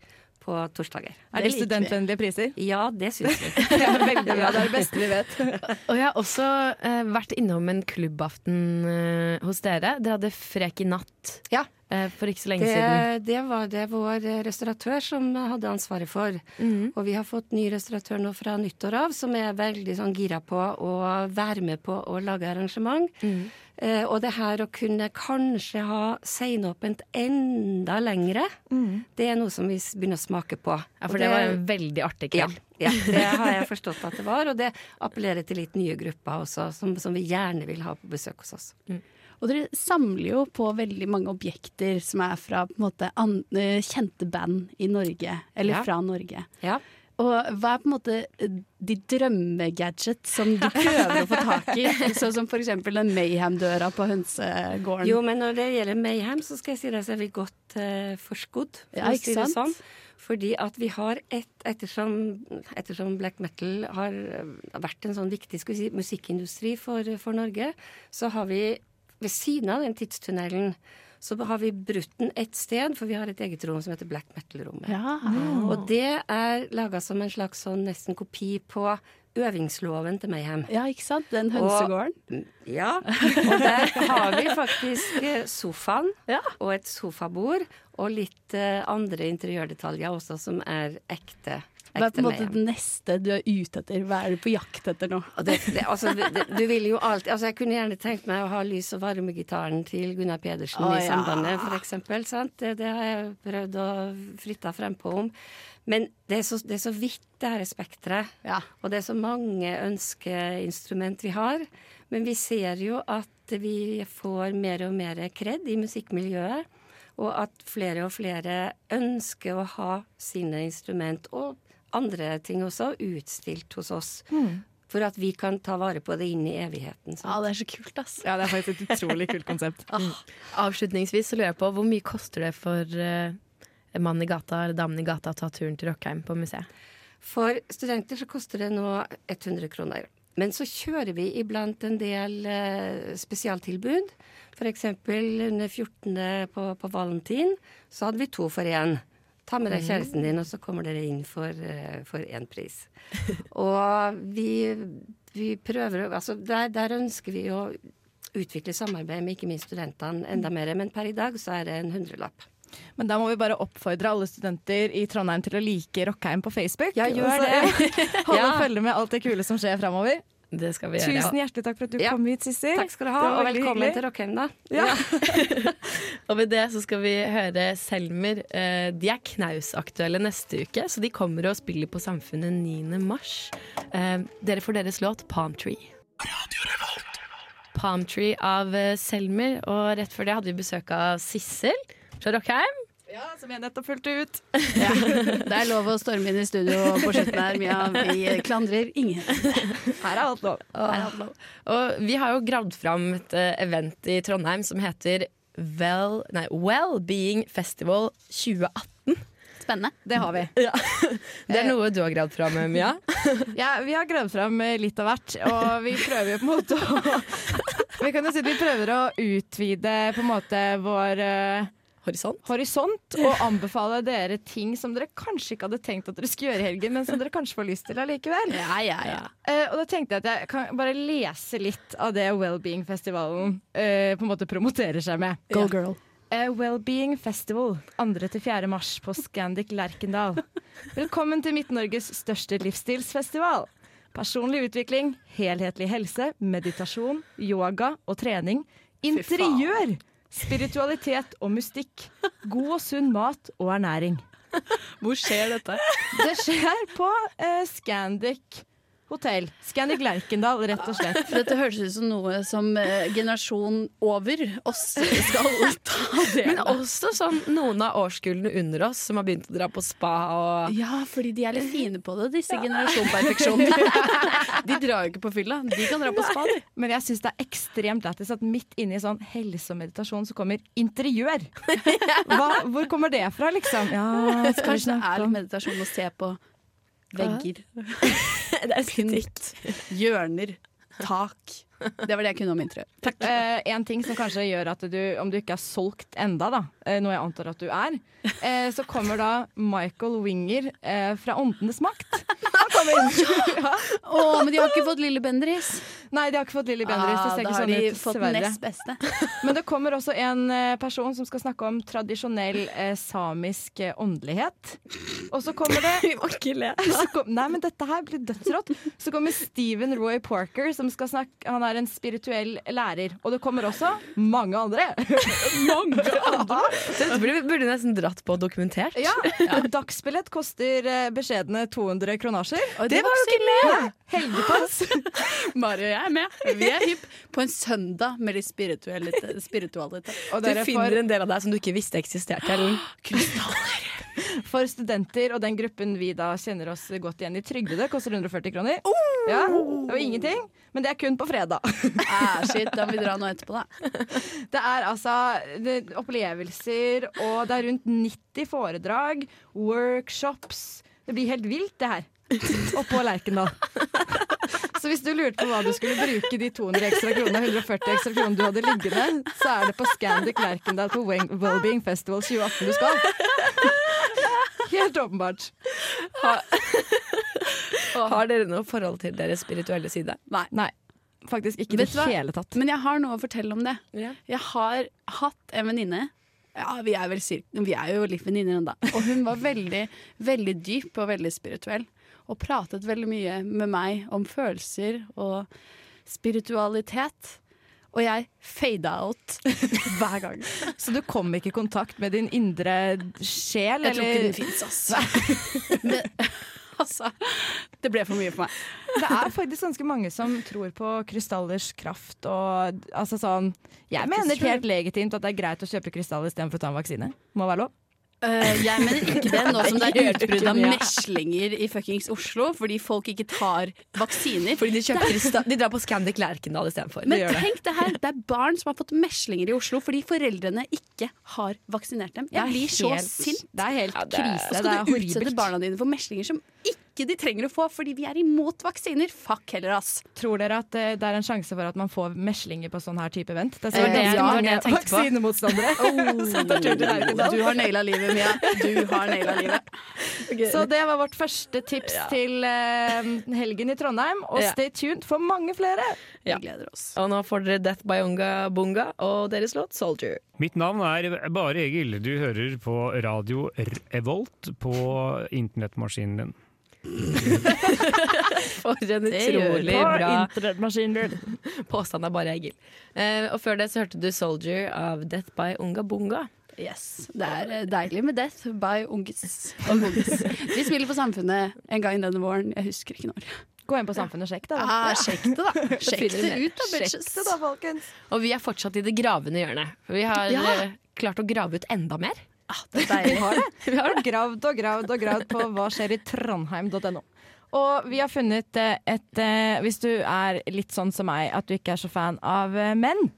på torsdager.
Er det studentvennlige priser?
Ja, det syns vi.
Veldig bra, det er det beste vi vet.
Og jeg har også eh, vært innom en klubbaften eh, hos dere. Dere hadde Frek i natt eh, for ikke så lenge siden.
det, det var det vår eh, restauratør som hadde ansvaret for.
Mhm.
Og vi har fått ny restauratør nå fra nyttår av, som er veldig sånn gira på å være med på å lage arrangement.
Mhm.
Eh, og det her å kunne kanskje ha seinåpent enda lengre,
Mhm.
det er noe som vi s- begynner å smake på.
Ja, for det var en veldig artig kveld.
Ja, ja, det har jeg forstått at det var, og det appellerer til litt nye grupper også, som, som vi gjerne vil ha på besøk hos oss.
Og dere samler jo på veldig mange objekter som er fra på en måte, an, eh, kjente band i Norge, eller
Ja.
fra Norge.
Ja.
Og hva er på en måte eh, de drømmegadgets som du prøver å få tak i? Sånn som for eksempel den Mayhem-døra på hønsegården.
Jo, men når det gjelder Mayhem, så skal jeg si deg så er vi godt eh, forskodd, for
Ja,
å
ikke
si det
sant?
sånn. Fordi at vi har et, ettersom, ettersom black metal har eh, vært en sånn viktig skal vi si, musikkindustri for, for Norge, så har vi ved siden av den tidstunnelen så har vi brutt den ett sted, for vi har et eget rom som heter black metal-rommet.
Mm.
Og det er laga som en slags sånn nesten kopi på øvingsloven til Mayhem.
Ja, ikke sant? Den
Og-
hønsegården.
ja, og der har vi faktisk eh, sofaen og et sofabord og litt eh, andre interiørdetaljer også som er ekte.
Hva er på
ekte
en måte
med.
det neste du er ute etter? Hva er du på jakt etter nå?
Det, det, altså, det, du vil jo alltid altså, Jeg kunne gjerne tenkt meg å ha lys- og varmegitaren til Gunnar Pedersen
Å,
i
ja.
Sambandet, for eksempel. Sant? Det, det har jeg prøvd å flytte frempå om. Men det er, så, det er så vidt det her spekteret. Og det er så mange ønskeinstrument vi har. Men vi ser jo at vi får mer og mer kred i musikkmiljøet. Og at flere og flere ønsker å ha sine instrument og andre ting også utstilt hos oss. For at vi kan ta vare på det inn i evigheten. Sant?
Mm. Ja, det er så kult, ass.
Ja, det er faktisk et utrolig kult konsept.
Avslutningsvis så lurer jeg på hvor mye koster det for eh, mannen i gata eller damen i gata å ta turen til Rockheim på museet?
For studenter så koster det nå 100 kroner. Men så kjører vi iblant en del eh, spesialtilbud. F.eks. under 14. På, på Valentin så hadde vi to for én. Ta med deg
Mm.
kjæresten din, og så kommer dere inn for, eh, for én pris. Og vi, vi prøver å altså der, der ønsker vi å utvikle samarbeid med ikke minst studentene enda mer. Men per i dag så er det en hundrelapp.
Men da må vi bare oppfordre alle studenter i Trondheim til å like Rockheim på Facebook.
Ja, gjør
det. Hold og
Ja.
følge med alt det kule som skjer framover.
Det skal vi gjøre.
Tusen hjertelig takk for at du
Ja.
kom hit, Sissel.
Takk skal du ha,
Det var
og
veldig
velkommen
hyggelig.
til Rockheim, da.
Og ved det så skal vi høre Selmer. Eh, De er knausaktuelle neste uke, så de kommer og spiller på Samfunnet 9. mars. Eh, Dere får deres låt 'Palm Tree'. Palm Tree av eh, Selmer, og rett før det hadde vi besøk av Sissel fra Rockheim.
Ja, som jeg nettopp fulgte ut.
Det er lov å storme inn i studio på slutten her, Mia. Vi klandrer ingen.
Her er alt lov.
Og vi har jo gravd fram et eh, event i Trondheim som heter Well, nei, Wellbeing Festival 2018.
Spennende.
Det har vi.
Det er noe du har gravd fram, Mia.
Ja, vi har gravd fram eh, litt av hvert, og vi prøver jo på en måte å Vi kan jo si at vi prøver å utvide på en måte vår eh,
Horisont.
og anbefale dere ting som dere kanskje ikke hadde tenkt at dere skulle gjøre i helgen, men som dere kanskje får lyst til allikevel.
Ja, ja, ja.
Eh, og da tenkte jeg at jeg kan bare lese litt av det Wellbeing-festivalen eh, på en måte promoterer seg med.
Go girl.
eh, Wellbeing Festival 2.-4. mars på Scandic Lerkendal. Velkommen til Midt-Norges største livsstilsfestival. Personlig utvikling, helhetlig helse, meditasjon, yoga og trening. Interiør, spiritualitet og mystikk. God og sunn mat og ernæring.
Hvor skjer dette?
Det skjer på eh, Scandic hotell. Scandic Lerkendal, rett og slett.
For dette høres ut som noe som eh, generasjon over oss skal ta del
Men også sånn noen av årskullene under oss som har begynt å dra på spa og
Ja, fordi de er litt fine på det, disse generasjonperfeksjonene. De drar jo ikke på fylla, de kan dra på spa, de.
Men jeg syns det er ekstremt lættis at midt inne i sånn helse og meditasjon så kommer interiør. Hva, hvor kommer det fra, liksom? Ja, skal vi
Kanskje det
snakke
er
om-
litt meditasjon å se på vegger.
Pynt.
Hjørner. Tak. Det var det jeg kunne om interiør.
Eh, en ting som kanskje gjør at du, om du ikke er solgt enda, da, eh, noe jeg antar at du er, eh, så kommer da Michael Winger eh, fra Åndenes makt. Han kommer inn. Ja.
Å, men de har ikke fått Lille Bendriss.
Nei, de har ikke fått Lilly Bendriss.
Ah,
det ser
da
ikke
har
sånn
de
ut,
fått
dessverre.
nest beste.
Men det kommer også en eh, person som skal snakke om tradisjonell eh, samisk eh, åndelighet. Og så kommer det
Vi må ikke le.
så kom, nei, men dette her blir dødsrått. Så kommer Stephen Roy Parker, som skal snakke Han er en spirituell lærer. Og det kommer også mange andre. mange andre?
Dette burde, burde nesten dratt på og dokumentert.
Ja. Dagsbillett koster eh, beskjedne 200 kronasjer.
det Det var var jo ikke ikke med! med!
Helgepass.
Mari og jeg er med. Vi er hypp på en søndag med litt spiritualitet. spiritualitet.
Du finner en del av deg som du ikke visste eksisterte. Ellen.
For studenter og den gruppen vi da kjenner oss godt igjen i Trygdede, koster 140 kroner. Ja, det var ingenting, men det er kun på fredag.
Ah, shit, da må vi dra nå etterpå, da.
Det er altså det, er opplevelser, og det er rundt 90 foredrag, workshops. Det blir helt vilt, det her. Oppå Lerkendal. Så hvis du lurte på hva du skulle bruke de 200 ekstra kronene, 140 ekstra kronene du hadde liggende, så er det på Scandic Lerkendal på Weng- Wellbeing Festival 2018 du skal. Helt åpenbart.
Har dere noe forhold til deres spirituelle side?
Nei.
Faktisk ikke i det
Vet du hva?
hele tatt.
Men jeg har noe å fortelle om det. Jeg har hatt en venninne. Ja, vi er, vel cir- vi er jo litt venninner ennå. Og hun var veldig, veldig dyp og veldig spirituell. Og pratet veldig mye med meg om følelser og spiritualitet. Og jeg fada out hver gang.
Så du kom ikke i kontakt med din indre sjel?
Jeg tror
eller?
ikke den fins, ass. Det, altså, det ble for mye for meg.
Det er faktisk ganske mange som tror på krystallers kraft og altså sånn Jeg mener helt legitimt at det er greit å kjøpe krystaller istedenfor å ta en vaksine. Må være lov.
Eh, jeg mener ikke det nå som det
Gjør
er
du
utbrudd
ikke
av
det?
meslinger i fuckings Oslo fordi folk ikke tar vaksiner.
Fordi de, kjøper, krista- de drar på Scandic Lerkendal istedenfor.
Men tenk det her, det er barn som har fått meslinger i Oslo fordi foreldrene ikke har vaksinert dem. Jeg blir så sint.
Det er helt
Ja, det er-
krise.
Så
det
skal
er
du utsette
horribelt.
barna dine for meslinger som ikke de trenger å få fordi vi er imot vaksiner. Fuck heller, ass.
Tror dere at eh, det er en sjanse for at man får meslinger på sånn her type event?
Det
Det
var det
sikkert
jeg- det
ganske
var det
mange
jeg tenkte på.
vaksinemotstandere. som tar tur til Lerkendal.
Du har naila livet, Mia. Du har naila livet.
Så det var vårt første tips til eh, helgen i Trondheim. Og
Ja.
stay tuned for mange flere!
Vi
Ja.
gleder oss.
Og nå får dere Death by Unga Bunga og deres låt 'Soldier'.
Mitt navn er Bare Egil. Du hører på radio Revolt på internettmaskinen din.
For en utrolig bra påstand av bare Egil. Eh, og før det så hørte du 'Soldier' av Death by Unga Bunga.
Yes, Det er eh, deilig med Death by Ungis. Og Ungis. Vi spiller på Samfunnet en gang denne våren. Jeg husker ikke når.
Gå inn på Samfunnet og sjekk, da.
Ah, sjekk det, da. Sjekk
finner
det
vi.
ut, da, bitches.
Sjekk det da, folkens.
Og vi er fortsatt i det gravende hjørnet. For Vi har
Ja.
eh, klart å grave ut enda mer.
Det er deilig.
Vi har gravd og gravd og gravd på hva skjer i trondheim.no. Og vi har funnet eh, et eh, Hvis du er litt sånn som meg, at du ikke er så fan av eh, menn,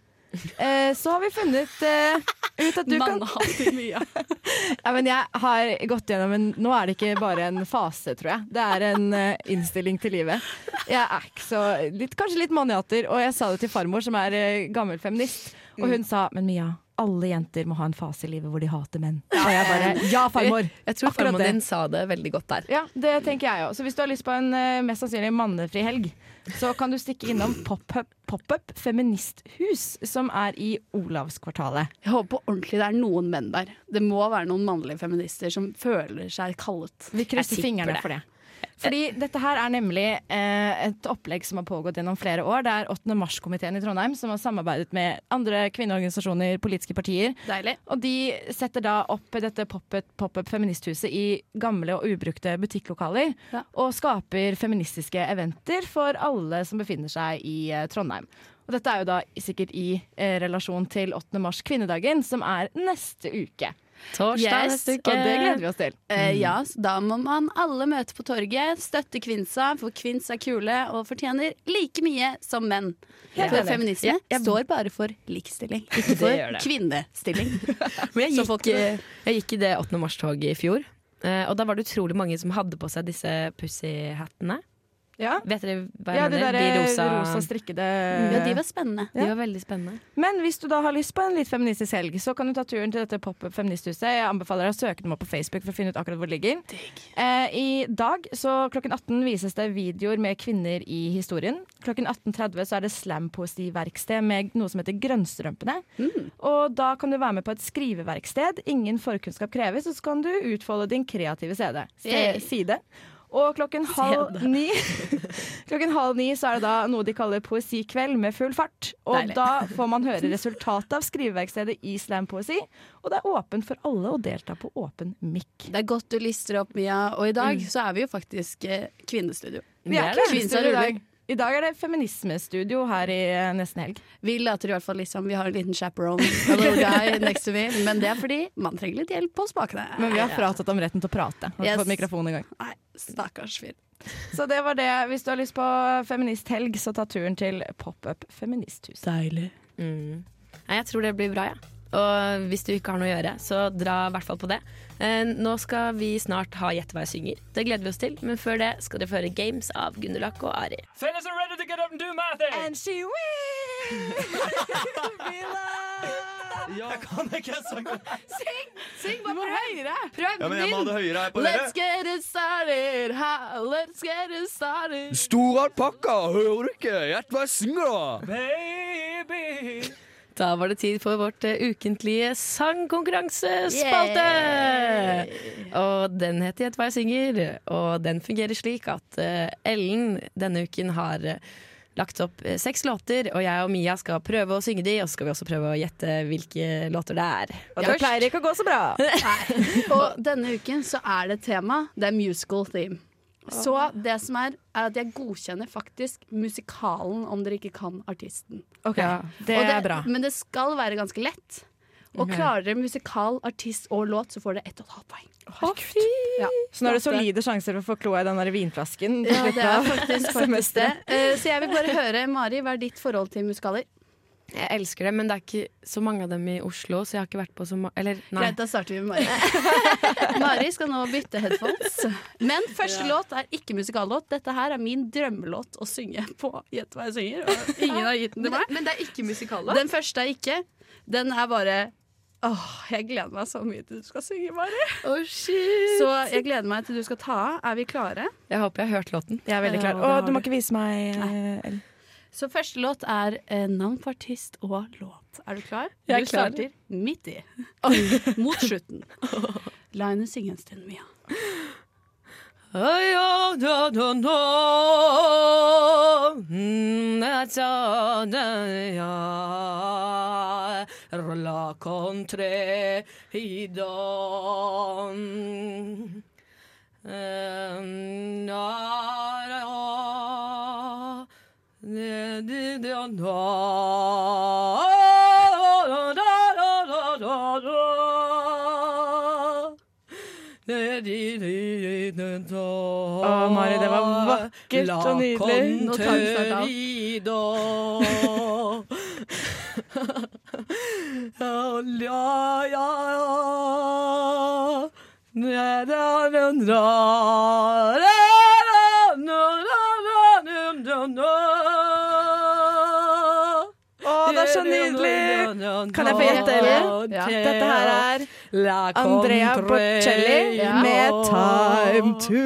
eh, så har vi funnet eh, ut at du kan
Mannehat i Mia.
ja, men Jeg har gått gjennom en Nå er det ikke bare en fase, tror jeg. Det er en eh, innstilling til livet. Jeg er ikke så litt, Kanskje litt maniater. Og jeg sa det til farmor, som er eh, gammel feminist, og hun sa Men Mia, alle jenter må ha en fase i livet hvor de hater menn. Og jeg bare Ja, farmor!
Jeg tror
Akkurat
farmoren
det.
din sa det veldig godt der.
Ja, det tenker jeg òg. Så hvis du har lyst på en eh, mest sannsynlig mannefri helg, så kan du stikke innom Pop-Up pop Feministhus, som er i Olavskvartalet.
Jeg håper på ordentlig det er noen menn der. Det må være noen mannlige feminister som føler seg kallet.
Vi krysser fingrene for det. Fordi dette her er nemlig eh, et opplegg som har pågått gjennom flere år. Det er 8. mars-komiteen i Trondheim som har samarbeidet med andre kvinneorganisasjoner, politiske partier. Og de setter da opp dette pop-up pop feministhuset i gamle og ubrukte butikklokaler. Og skaper feministiske eventer for alle som befinner seg i eh, Trondheim. Og dette er jo da sikkert i eh, relasjon til 8. mars, kvinnedagen, som er neste uke.
Yes,
Og det gleder vi oss til.
Mm.
Eh, ja, så da må man alle møte på torget, støtte Kvinsa, for Kvins er kule og fortjener like mye som menn.
Helt
For
enig.
feminisme
Jeg- jeg-
står bare for likestilling, ikke
Det gjør
for
det.
kvinnestilling.
Men jeg
Så
gikk, eh, jeg gikk i det 8. mars-toget i fjor, eh, og da var det utrolig mange som hadde på seg disse pussyhattene. Vet dere hva jeg
Ja, de
mener?
der rosa strikkede
Eh.
Ja, de var
spennende.
De var veldig spennende.
Men hvis du da har lyst på en litt feministisk helg, så kan du ta turen til dette pop-up feministhuset. Jeg anbefaler deg å søke dem opp på Facebook for å finne ut akkurat hvor det ligger. Eh, I dag så klokken 18 vises det videoer med kvinner i historien. Klokken 18.30 så er det slampoesiverksted med noe som heter Grønnstrømpene. Og da kan du være med på et skriveverksted. Ingen forkunnskap kreves, og så kan du utfolde din kreative CD.
Yay.
Se- Side. Og klokken halv
Sede.
ni Klokken halv ni så er det da noe de kaller poesikveld med full fart. Og
Deilig.
da får man høre resultatet av skriveverkstedet i slampoesi. Og det er åpent for alle å delta på åpen mikk.
Det er godt du lister opp, Mia. Og i dag så er vi jo faktisk eh, kvinnestudio.
Mm. Vi er ikke
Kvinsa
kvinnestudio i
ruller.
dag. I dag er det feminismestudio her i eh, Nesten Helg.
Vi later i hvert fall litt som vi har en liten chaperone, a little guy next to me. Men det er fordi man trenger litt hjelp på spakene.
Men vi har fratatt dem retten til å prate. Har ikke
Yes.
fått mikrofon engang.
Nei, stakkars fyr.
Så det var det. Hvis du har lyst på feministhelg, så ta turen til Pop-up feministhus.
Deilig.
Mm. Nei, jeg tror det blir bra, jeg. Og hvis du ikke har noe å gjøre, så dra i hvert fall på det. Eh, Nå skal vi snart ha Gjett hva jeg synger. Det gleder vi oss til. Men før det skal dere få høre Games av Gunderlach og Ari.
Fellas are ready to get up and do my thing!
And she
Jeg kan ikke sange.
Syng! Syng bare prøv! Høyere. Prøv
Ja, men jeg må ha det høyere her på
Let's get it started, ha, let's get it started.
Store alpakka, hører du ikke? Gjett hva jeg synger, da!
Baby!
Da var det tid for vårt eh, ukentlige sangkonkurransespalte! Og den heter Gjett hva jeg synger, og den fungerer slik at eh, Ellen denne uken har eh, lagt opp eh, seks låter, og jeg og Mia skal prøve å synge de, og så skal vi også prøve å gjette hvilke låter det er.
Og det pleier ikke å gå så bra.
Og denne uken så er det tema, det er musical theme. Så det som er, er at jeg godkjenner faktisk musikalen om dere ikke kan artisten.
Ok, det
Og
er bra. Mhm.
Men det skal være ganske lett. Og
Ok.
klarer dere musikal, artist og låt, så får dere ett og et halvt poeng. Ja.
Så nå er det solide sjanser for å få kloa i den der vinflasken.
Ja, det
til slutten
er
av
faktisk, faktisk det.
semesteret.
Eh, Så jeg vil bare høre, Mari, hva er ditt forhold til musikaler?
Jeg elsker det, men det er ikke så mange av dem i Oslo, så jeg har ikke vært på så mange Eller, nei.
Greit, da starter vi med Mari. Mari skal nå bytte headphones. Men første låt er ikke musikallåt. Dette her er min drømmelåt å synge på Gjett hva jeg synger. Og ingen har gitt den til meg.
Men det er ikke musikallåt?
Den første er ikke. Den er bare Åh, jeg gleder meg så mye til du skal synge, Mari. Så jeg gleder meg til du skal ta av. Er vi klare?
Jeg håper jeg har hørt låten.
Jeg er veldig klar. Å, du må ikke vise meg eh, Ellen.
Så første låt er eh, navn på artist og låt. Er du klar?
Jeg er
du
klar.
starter midt i. Mot slutten. La henne synge en stund, Mia.
La contre i don Å,
Mari, det var vakkert og nydelig.
Nå
Nå
tar
tar
vi
vi snart av.
Å,
det er så nydelig! Kan jeg få gjette, eller?
Ja.
Dette her er
La
Andrea
Contrail.
Bocelli
Ja.
med 'Time to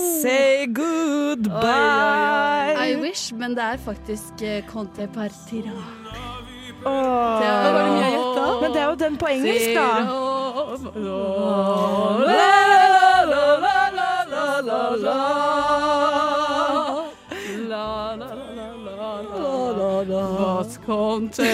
Say Goodbye'.
I wish, men det er faktisk eh, Conte Partira.
Åh.
Det var- var det mye jeg gjettet?
Men det er jo den på engelsk, da.
Vos
Conte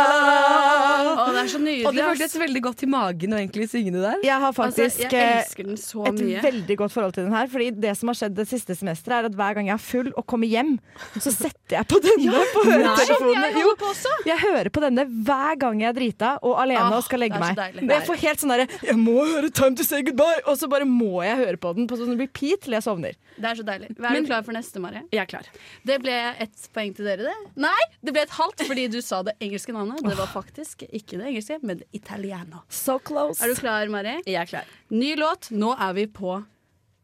Å, det er så nydelig.
Og det
ass.
føltes veldig godt i magen å egentlig synge det der.
Jeg har faktisk
altså, jeg elsker den så
eh, et
mye.
veldig godt forhold til den her. Fordi det som har skjedd det siste semesteret, er at hver gang jeg er full og kommer hjem, så setter jeg på denne på
Nei.
høretelefonene.
Shit, jeg holder
Jo,
på også.
jeg hører på denne hver gang jeg er drita og alene
Ah,
og skal legge
det er så
meg.
deilig.
Og jeg får helt sånn derre Jeg må høre 'Time to say goodbye', og så bare må jeg høre på den på sånn repeat til jeg sovner.
Det er så deilig. Er
Men-
du klar for neste, Mari?
Jeg er klar.
Det ble ett poeng til dere, det. Nei, det ble et halvt fordi du sa det engelske navnet. Det var faktisk ikke det engelske, men det italiano.
So close.
Er du klar, Mari?
Jeg er klar.
Ny låt. Nå er vi på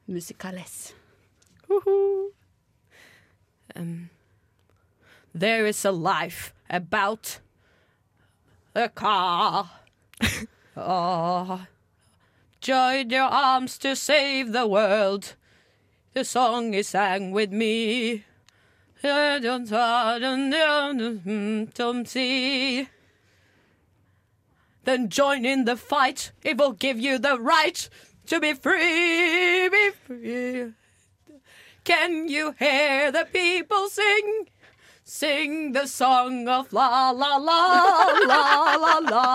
Musicales.
Um, there is a life about a car. Ah, join your arms to save the world. The song is sang with me. hmm, Then join in the fight. It will give you the right to be free. Be free. Can you hear the people sing? Sing the song of la la la la la la.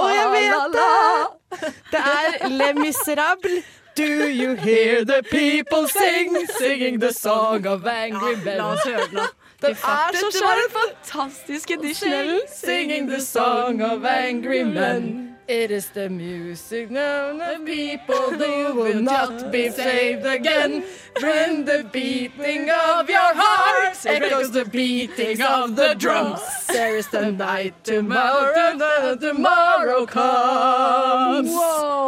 Å, jeg vet det! Det er Le Miserable. Do you hear the people sing, singing the song of angry men?
la oss høre den, da.
Den er så
Dette var
skjønn!
en fantastisk edition, Ellen.
Singing the song of angry men. It is the music now the people who will not be saved again. When the beating of your heart echoes the beating of the drums. There is the night tomorrow, the tomorrow comes. Wow.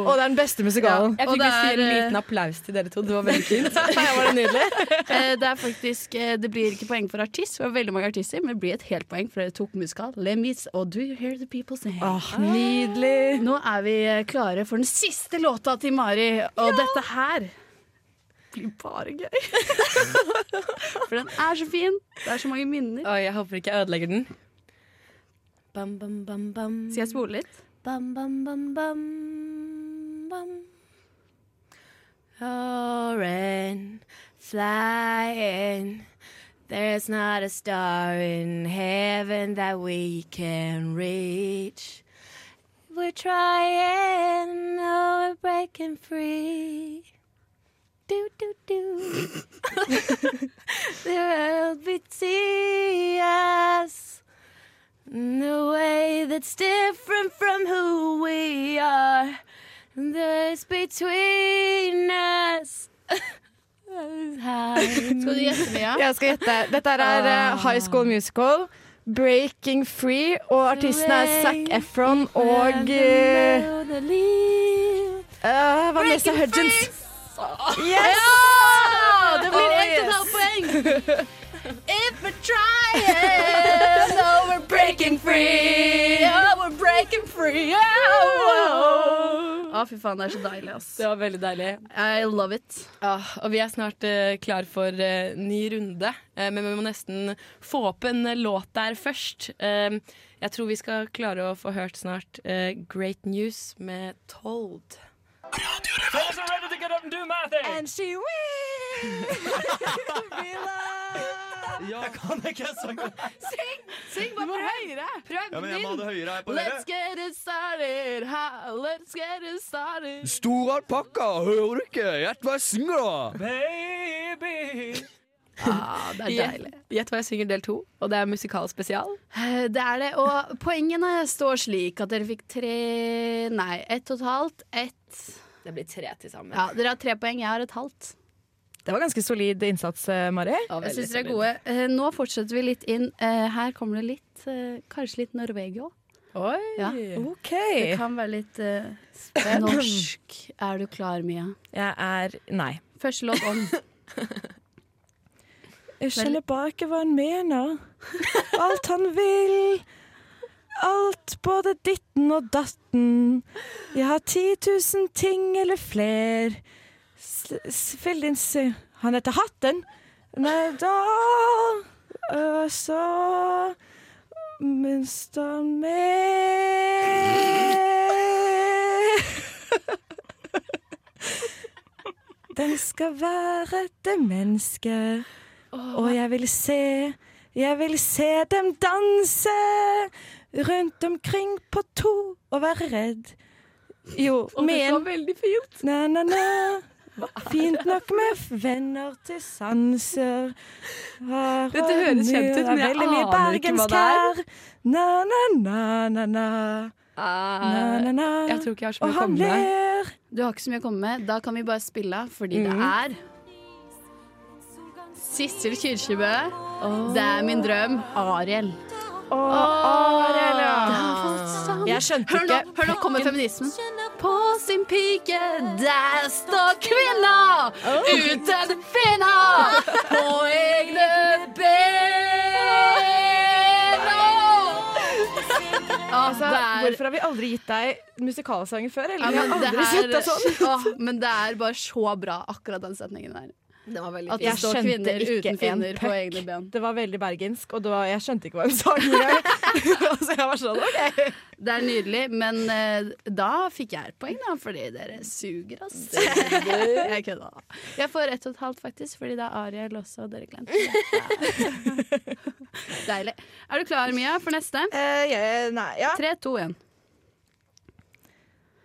Og eh, det er den beste musikalen.
Jeg fikk lyst til å gi en liten applaus til dere to. Det var veldig fint.
var det nydelig? det er faktisk eh, Det blir ikke poeng for artist, for det var veldig mange artister, men det blir et helt poeng, for dere tok musikal. Lemis og Do You Hear The People Sing.
Ah. nydelig.
Nå er vi eh, klare for den siste låta til Mari, og dette her blir bare gøy. for den er så fin. Det er så mange minner.
Oi, jeg håper ikke jeg ødelegger den. Bam, bam, bam, bam.
Skal jeg spole litt?
Bam, bam, bam, bam, bam. Soaring, flying. There's not a star in heaven that we can reach. We're trying, oh, we're breaking free. Do, do, do. the world will see us in a way that's different from who we are. There's between us. Skal
du gjette, Mia?
Jeg skal gjette. Dette her er eh,
Ah.
High School Musical, Breaking Free, og artistene er Zac Efron og eh, eh, Vanessa Hudgens. Yes!
Ja! Det blir ett og
Oh,
et
yes.
halvt poeng. If we're trying, oh, we're breaking free. Oh, we're breaking free. Oh, Å, fy faen, det er så deilig, ass.
Det var veldig deilig.
I love it.
Ah, og vi er snart eh, klar for eh, ny runde, Eh, men vi må nesten få opp en eh, låt der først. Eh, jeg tror vi skal klare å få hørt snart eh, Great News med Told.
Girls are ready to get up and do my thing.
And she
Jeg kan ikke sangen.
Syng! Syng bare høyere. Prøv
Ja, men jeg må ha det høyere her på
Let's
dere.
get it started. Ha, let's get it started.
Stor alpakka, hører du ikke? Gjett hva jeg synger, da!
Baby!
Ah, det er deilig.
Gjett- Gjett hva jeg synger del to, og det er musikalspesial.
Eh, Det er det, og poengene står slik at dere fikk tre Nei, ett og et halvt. Ett
Det blir tre til sammen.
Ja, Dere har tre poeng, jeg har et halvt.
Det var ganske solid innsats, eh, Mari.
Jeg syns dere er gode. Eh, Nå fortsetter vi litt inn. Eh, Her kommer det litt eh, Kanskje litt Norvegia. Oi. Ja.
Ok.
Det kan være litt eh, norsk. Er du klar, Mia?
Jeg er nei.
Første låt om.
Jeg skjønner bare ikke hva han mener. Alt han vil. Alt, både ditten og datten. Jeg har 10 000 ting eller fler. S- s- Fyll din s... Han heter Hatten. Nei, da Og så minst han med Den skal være et menneske. Og jeg vil se, jeg vil se dem danse rundt omkring på to og være redd. Jo, med en
veldig fint.
Na, na, na. Fint nok med f- venner til sanser. Her
Dette
og
høres
nå
kjent ut, men jeg
veldig mye
aner ikke hva det
bergenskær.
er.
Na, na, na, na, na. Na, na, na.
Jeg tror ikke jeg har så
Og
mye å
han
komme med.
ler.
Du har ikke så mye å komme med. Da kan vi bare spille av, fordi
Mm.
det er Sissel Kyrkjebø. Det er min drøm. Ariel.
Ariel, ja.
Det har falt sammen.
Jeg skjønte
hør nå,
ikke
Hør nå kommer feminismen. På sin pike, der står kvinna uten finna på egne ben.
Altså,
Det er-
Hvorfor har vi aldri gitt deg musikalsanger før?
Ja,
Eller? jeg
men,
har
det
aldri sett
er,
deg sånn.
Åh, men det er bare så bra, akkurat den setningen der. At det
Jeg
står
skjønte
kvinner
ikke
uten
en
finner på
puck.
egne ben.
Det var veldig bergensk, og det var, jeg skjønte ikke hva hun sang engang. altså, jeg var sånn, ok.
Det er nydelig, men eh, da fikk jeg et poeng, da, fordi dere suger, ass. Jeg kødda. Jeg får ett og et halvt, faktisk, fordi det er Ariel også, og dere glemte det. Deilig. Er du klar, Mia, for neste?
Eh, nei, ja.
Tre, to, én.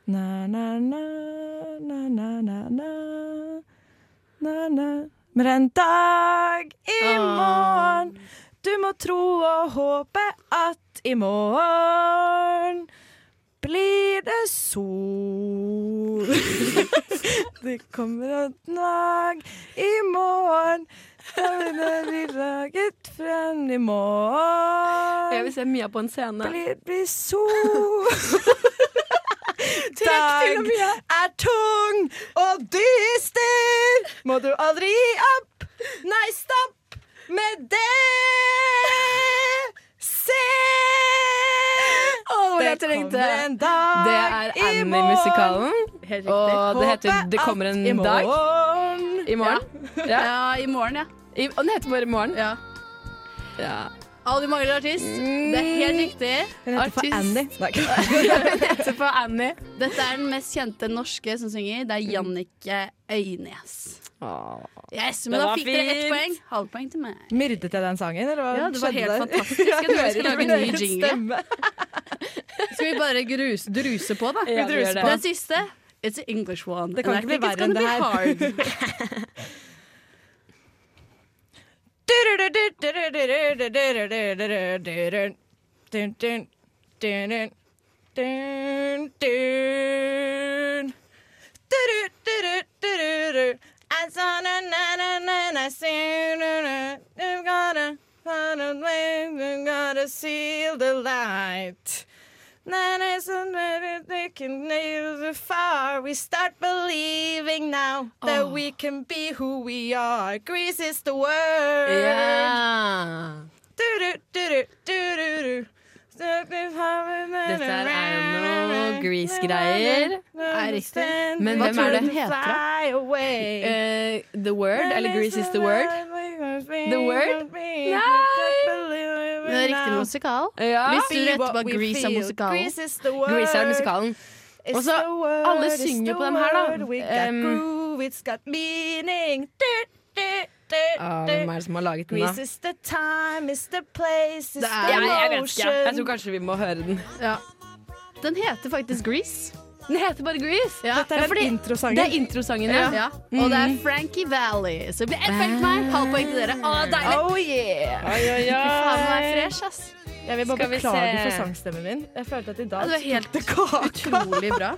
Na, na, na, na, na, na, na, na, na. Men en dag i morgen, du må tro og håpe at i morgen blir det sol. det kommer en dag i morgen, da vil vi laget frem i morgen.
Jeg vil se Mia på en scene.
Blir, blir sol Dag er tung og dyster Må du aldri gi opp Nei, stopp med det Se
Åh,
Det
jeg trengte.
kommer en dag
Det er
i
Annie-musikalen,
morgen.
og det heter
Håpet
Det kommer en
at i
dag.
morgen.
I morgen?
Ja. i morgen, ja.
I, og den heter bare Morgen?
Ja.
ja.
Å, du mangler artist. Det er helt riktig.
Hun heter for Annie.
heter for Annie. Dette er den mest kjente norske som synger. Det er Jannicke Øynes. Yes, men
Det
da
var
fikk dere ett
fint.
poeng. Halvpoeng til meg.
Myrdet jeg den sangen, eller hva
Ja, det var
skjedde
helt
der?
fantastisk. Jeg tror jeg skal lage en ny
min
jingle.
stemme.
Skal vi bare grus, druse på, da?
Ja, vi druser på.
Den siste. It's an English one.
Det kan
And I
ikke bli
think it's
verre enn det
gonna be hard.
her. Gotta seal the light. Then it's a little they can nail the fire. We start believing now that we can be who we are. Greece is the word. Du-du-du-du-du-du-du.
Dette her er jo noe Grease-greier.
Er riktig.
Men hvem er det?
Fly away.
Eh, the Word? Eller Grease is the Word? The Word?
Men det er riktig musikal.
Ja.
Hvis du rett var Grease er musikalen.
Grease is the word.
Grease er musikalen.
It's
Og så
the word,
alle
it's
synger jo
the
på den her, da.
word. We got
Em,
groove, it's got meaning. Du, du, du,
ah,
du.
hvem er det som har laget den,
Grease
da?
is the time, it's the place, it's the
Jeg, jeg vet ikke.
motion.
Jeg tror kanskje vi må høre den.
Ja. Den heter faktisk Grease.
Den heter bare Grease.
Ja.
Dette er
Ja,
den
fordi-
introsangen.
Det er introsangen,
Ja.
ja.
Ja. Og det
Mm.
er Frankie Valley. Så det blir ett poeng til meg, halvt poeng til dere. Å, deilig!
Oh yeah!
Oi, oi, oi.
Fy faen, nå er jeg fresh, ass.
Jeg vil bare
Skal vi se.
beklage
Altså,
for sangstemmen min. Jeg følte at i dag
Ja, det var helt utrolig bra.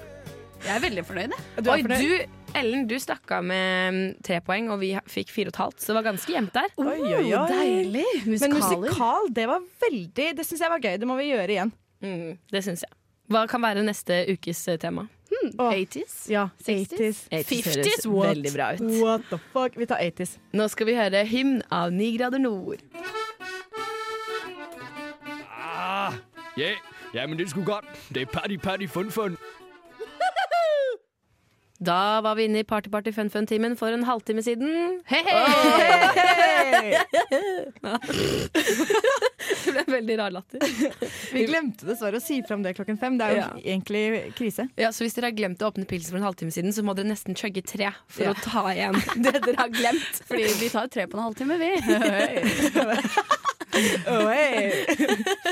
Jeg er veldig fornøyd, jeg.
Du er
Oi,
fornøyd?
du, Ellen, du stakk av med mm, tre poeng, og vi ha- fikk fire og et halvt, så det var ganske jevnt der.
Oi, oi, oi.
Deilig.
Men
Musikaler.
musikal, det var veldig Det syns jeg var gøy. Det må vi gjøre igjen.
Mm, det syns jeg. Hva kan være neste ukes eh, tema?
80s? Ja, 80s.
80s høres veldig bra ut.
What the fuck? Vi tar 80s.
Nå skal vi høre hymn av Ni grader nord.
Ah, ja, ja, men det skulle godt. Det er party, party, fun, fun.
Da var vi inne i Party Party Fun Fun-timen for en halvtime siden. Hei, hei! det ble en veldig rar latter.
Vi glemte dessverre å si fram det klokken fem. Det er jo
Ja.
egentlig krise.
Ja, så Hvis dere har glemt å åpne pilsen for en halvtime siden, så må dere nesten chugge tre for
Ja.
å ta igjen det dere har glemt.
Fordi vi tar tre på en halvtime, vi.
Oh,
Away.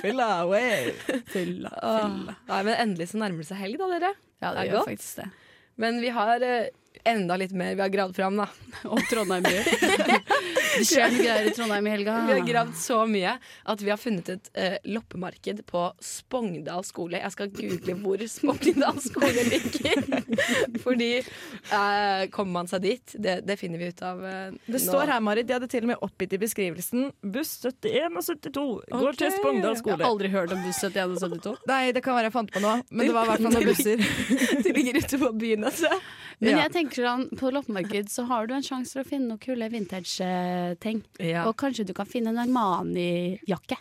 Fylla away.
Fylla,
Åh, Nei, men endelig så nærmer det seg helg, da, dere.
Ja, det
er
gjør
godt.
faktisk det.
Men vi har eh, enda litt mer vi har gravd fram, da.
Om Trondheim by. Det skjer mye greier i Trondheim i helga.
Vi har gravd så mye at vi har funnet et eh, loppemarked på Spongdal skole. Jeg skal google hvor Spongdal skole ligger. Fordi eh, kommer man seg dit? Det, det finner vi ut av eh,
Det står her, Marit, de hadde til og med oppgitt i beskrivelsen buss 71 og 72 går
Ok.
til Spongdal skole.
Jeg har aldri
hørt om buss 71 og 72.
Nei, det kan være jeg fant på noe, men det var i hvert fall noen busser.
De ligger ute på byen, altså.
Men
Ja.
jeg tenker sånn, på loppemarked så har du en sjanse for å finne noen kule vintage-ting.
Ja.
Og kanskje du kan finne en Armani-jakke.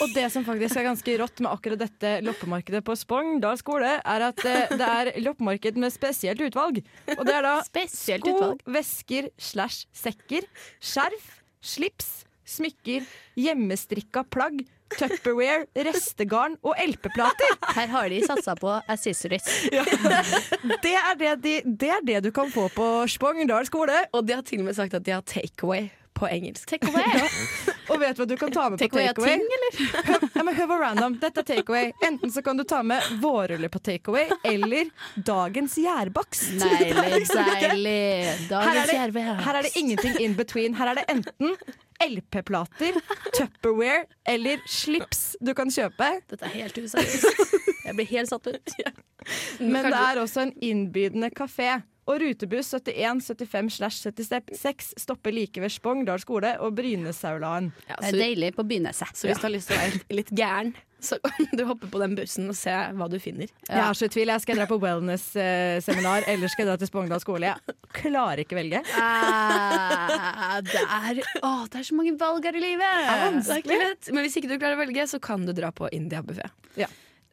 Og det som faktisk er ganske rått med akkurat dette loppemarkedet på Spongdal skole, er at eh, det er loppemarked med spesielt utvalg. Og det er da sko,
utvalg.
vesker slash sekker, skjerf, slips, smykker, hjemmestrikka plagg, Tupperware, restegarn og LP-plater.
Her har de satsa på accessories.
Ja. Det, er det, de, det er det du kan få på Spongdal skole.
Og de har til og med sagt at de har takeaway på engelsk.
Takeaway?
Og vet du hva du kan ta med på
Takeaway av
takeaway?
ting,
Hør, ja, men hør på random. Dette er takeaway. Enten så kan du ta med vårrulle på takeaway, eller dagens gjærbakst.
Deilig,
Det er liksom det.
deilig. eh, Dagens
Her er det-
gjærbakst.
Her er det ingenting in between. Her er det enten LP-plater, Tupperware eller slips du kan kjøpe.
Dette er helt useriøst. Jeg blir helt satt ut.
Men det er også en innbydende kafé. Og rutebuss 71 75 slash 76 stopper like ved Spongdal skole og Brynesaulaen.
Det er deilig på begynnelse.
Så hvis du har lyst til å være litt gæren, så kan du hoppe på den bussen og se hva du finner.
Jeg er så i tvil. Jeg skal dra på wellness-seminar, eller skal jeg dra til Spongdal skole. Jeg klarer ikke å velge.
Ah, det, er, å, det er så mange valg her i livet!
Det er ikke lett, men hvis ikke du klarer å velge, så kan du dra på India-buffé.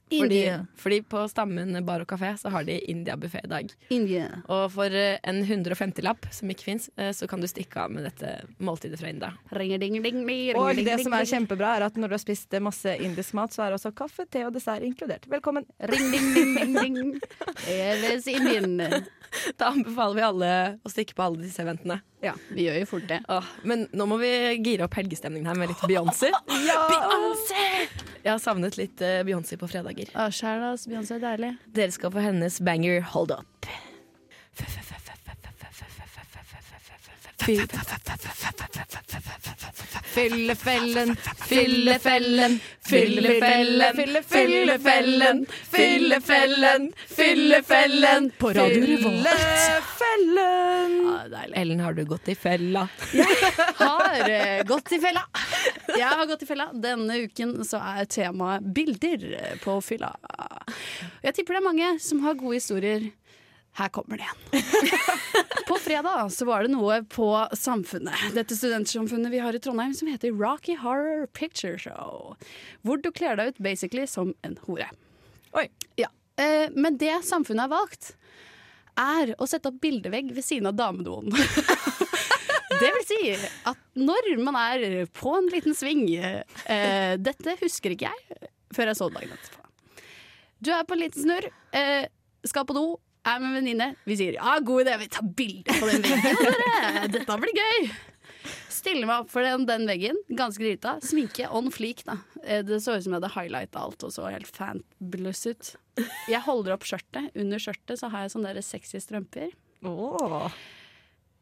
Fordi,
India.
fordi på Stammen bar og kafé så har de India-buffé i dag.
India.
Og for eh, en 150-lapp som ikke fins, så kan du stikke av med dette måltidet fra India.
Ringer, ding, ding, ding, ringer,
Og
ding,
det
ding,
som er
ding.
kjempebra, er at når du har spist masse indisk mat, så er også kaffe, te og dessert inkludert. Velkommen.
Ring, ding, ding, ding, ding. Eves i min.
Da anbefaler vi alle å stikke på alle disse eventene.
Ja, vi gjør jo fort det.
Åh, men nå må vi gire opp helgestemningen her med litt Beyoncé. Beyoncé! Jeg har savnet litt eh, Beyoncé på fredager.
Å, Sjæl, ass. Beyoncé er deilig.
Dere skal få hennes banger Hold Up.
Fyllefellen,
fyllefellen, fyllefellen, fyllefellen, fyllefellen, fyllefellen. På Radio Revolt.
Fyllefellen.
Ah,
Ellen, har du gått i fella?
har eh, gått i fella. Jeg har gått i fella. Denne uken så er temaet bilder eh, på fylla. Jeg tipper det er mange som har gode historier. Her kommer det en. På fredag så var det noe på Samfunnet, dette studentsamfunnet vi har i Trondheim, som heter Rocky Horror Picture Show. Hvor du kler deg ut basically som en hore.
Oi.
Ja. Eh, Men det samfunnet har valgt, er å sette opp bildevegg ved siden av damedoen. Det vil si at når man er på en liten sving eh, Dette husker ikke jeg før jeg så dagen etterpå. Du er på en liten snurr, eh, skal på do, er med en venninne. Vi sier ja, god idé, vi tar bilde på den veggen. Dere. Dette blir gøy. Stiller meg opp for den, den veggen, ganske drita. Sminke on fleak, da. Eh, Det så ut som jeg hadde highlighta alt og så helt fanbluss ut. Jeg holder opp skjørtet. Under skjørtet så har jeg sånne der sexy strømper.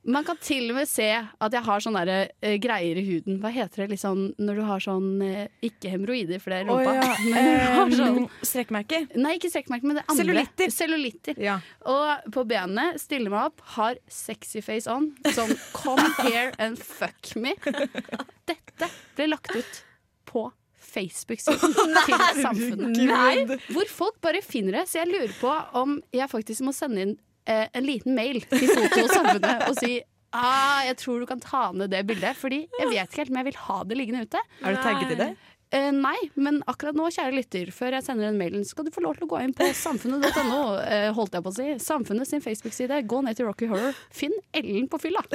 Man kan til og med se at jeg har sånne der, eh, greier i huden. Hva heter det liksom, når du har sånn eh, Ikke hemoroider, for det er rumpa.
Å, ja.
Men du har sånn,
Eh, Strekkmerker.
nei, ikke strekkmerker, men det andre.
Cellulitter.
Cellulitter.
Ja.
Og på benene, stiller meg opp, har sexy face on. Som come here and fuck me. Dette ble lagt ut på Facebook-siden til Samfunnet.
Nei.
Hvor folk bare finner det. Så jeg lurer på om jeg faktisk må sende inn eh, en liten mail til Foto og Samfunnet og si ah, jeg tror du kan ta ned det bildet. Fordi jeg vet ikke helt om jeg vil ha det liggende ute.
Er du tagget i det?
Eh, nei, men akkurat nå, kjære lytter, før jeg sender den mailen, så skal du få lov til å gå inn på samfunnet.no, eh, holdt jeg på å si. Samfunnet sin Facebook-side. Gå ned til Rocky Horror. Finn Ellen på fylla.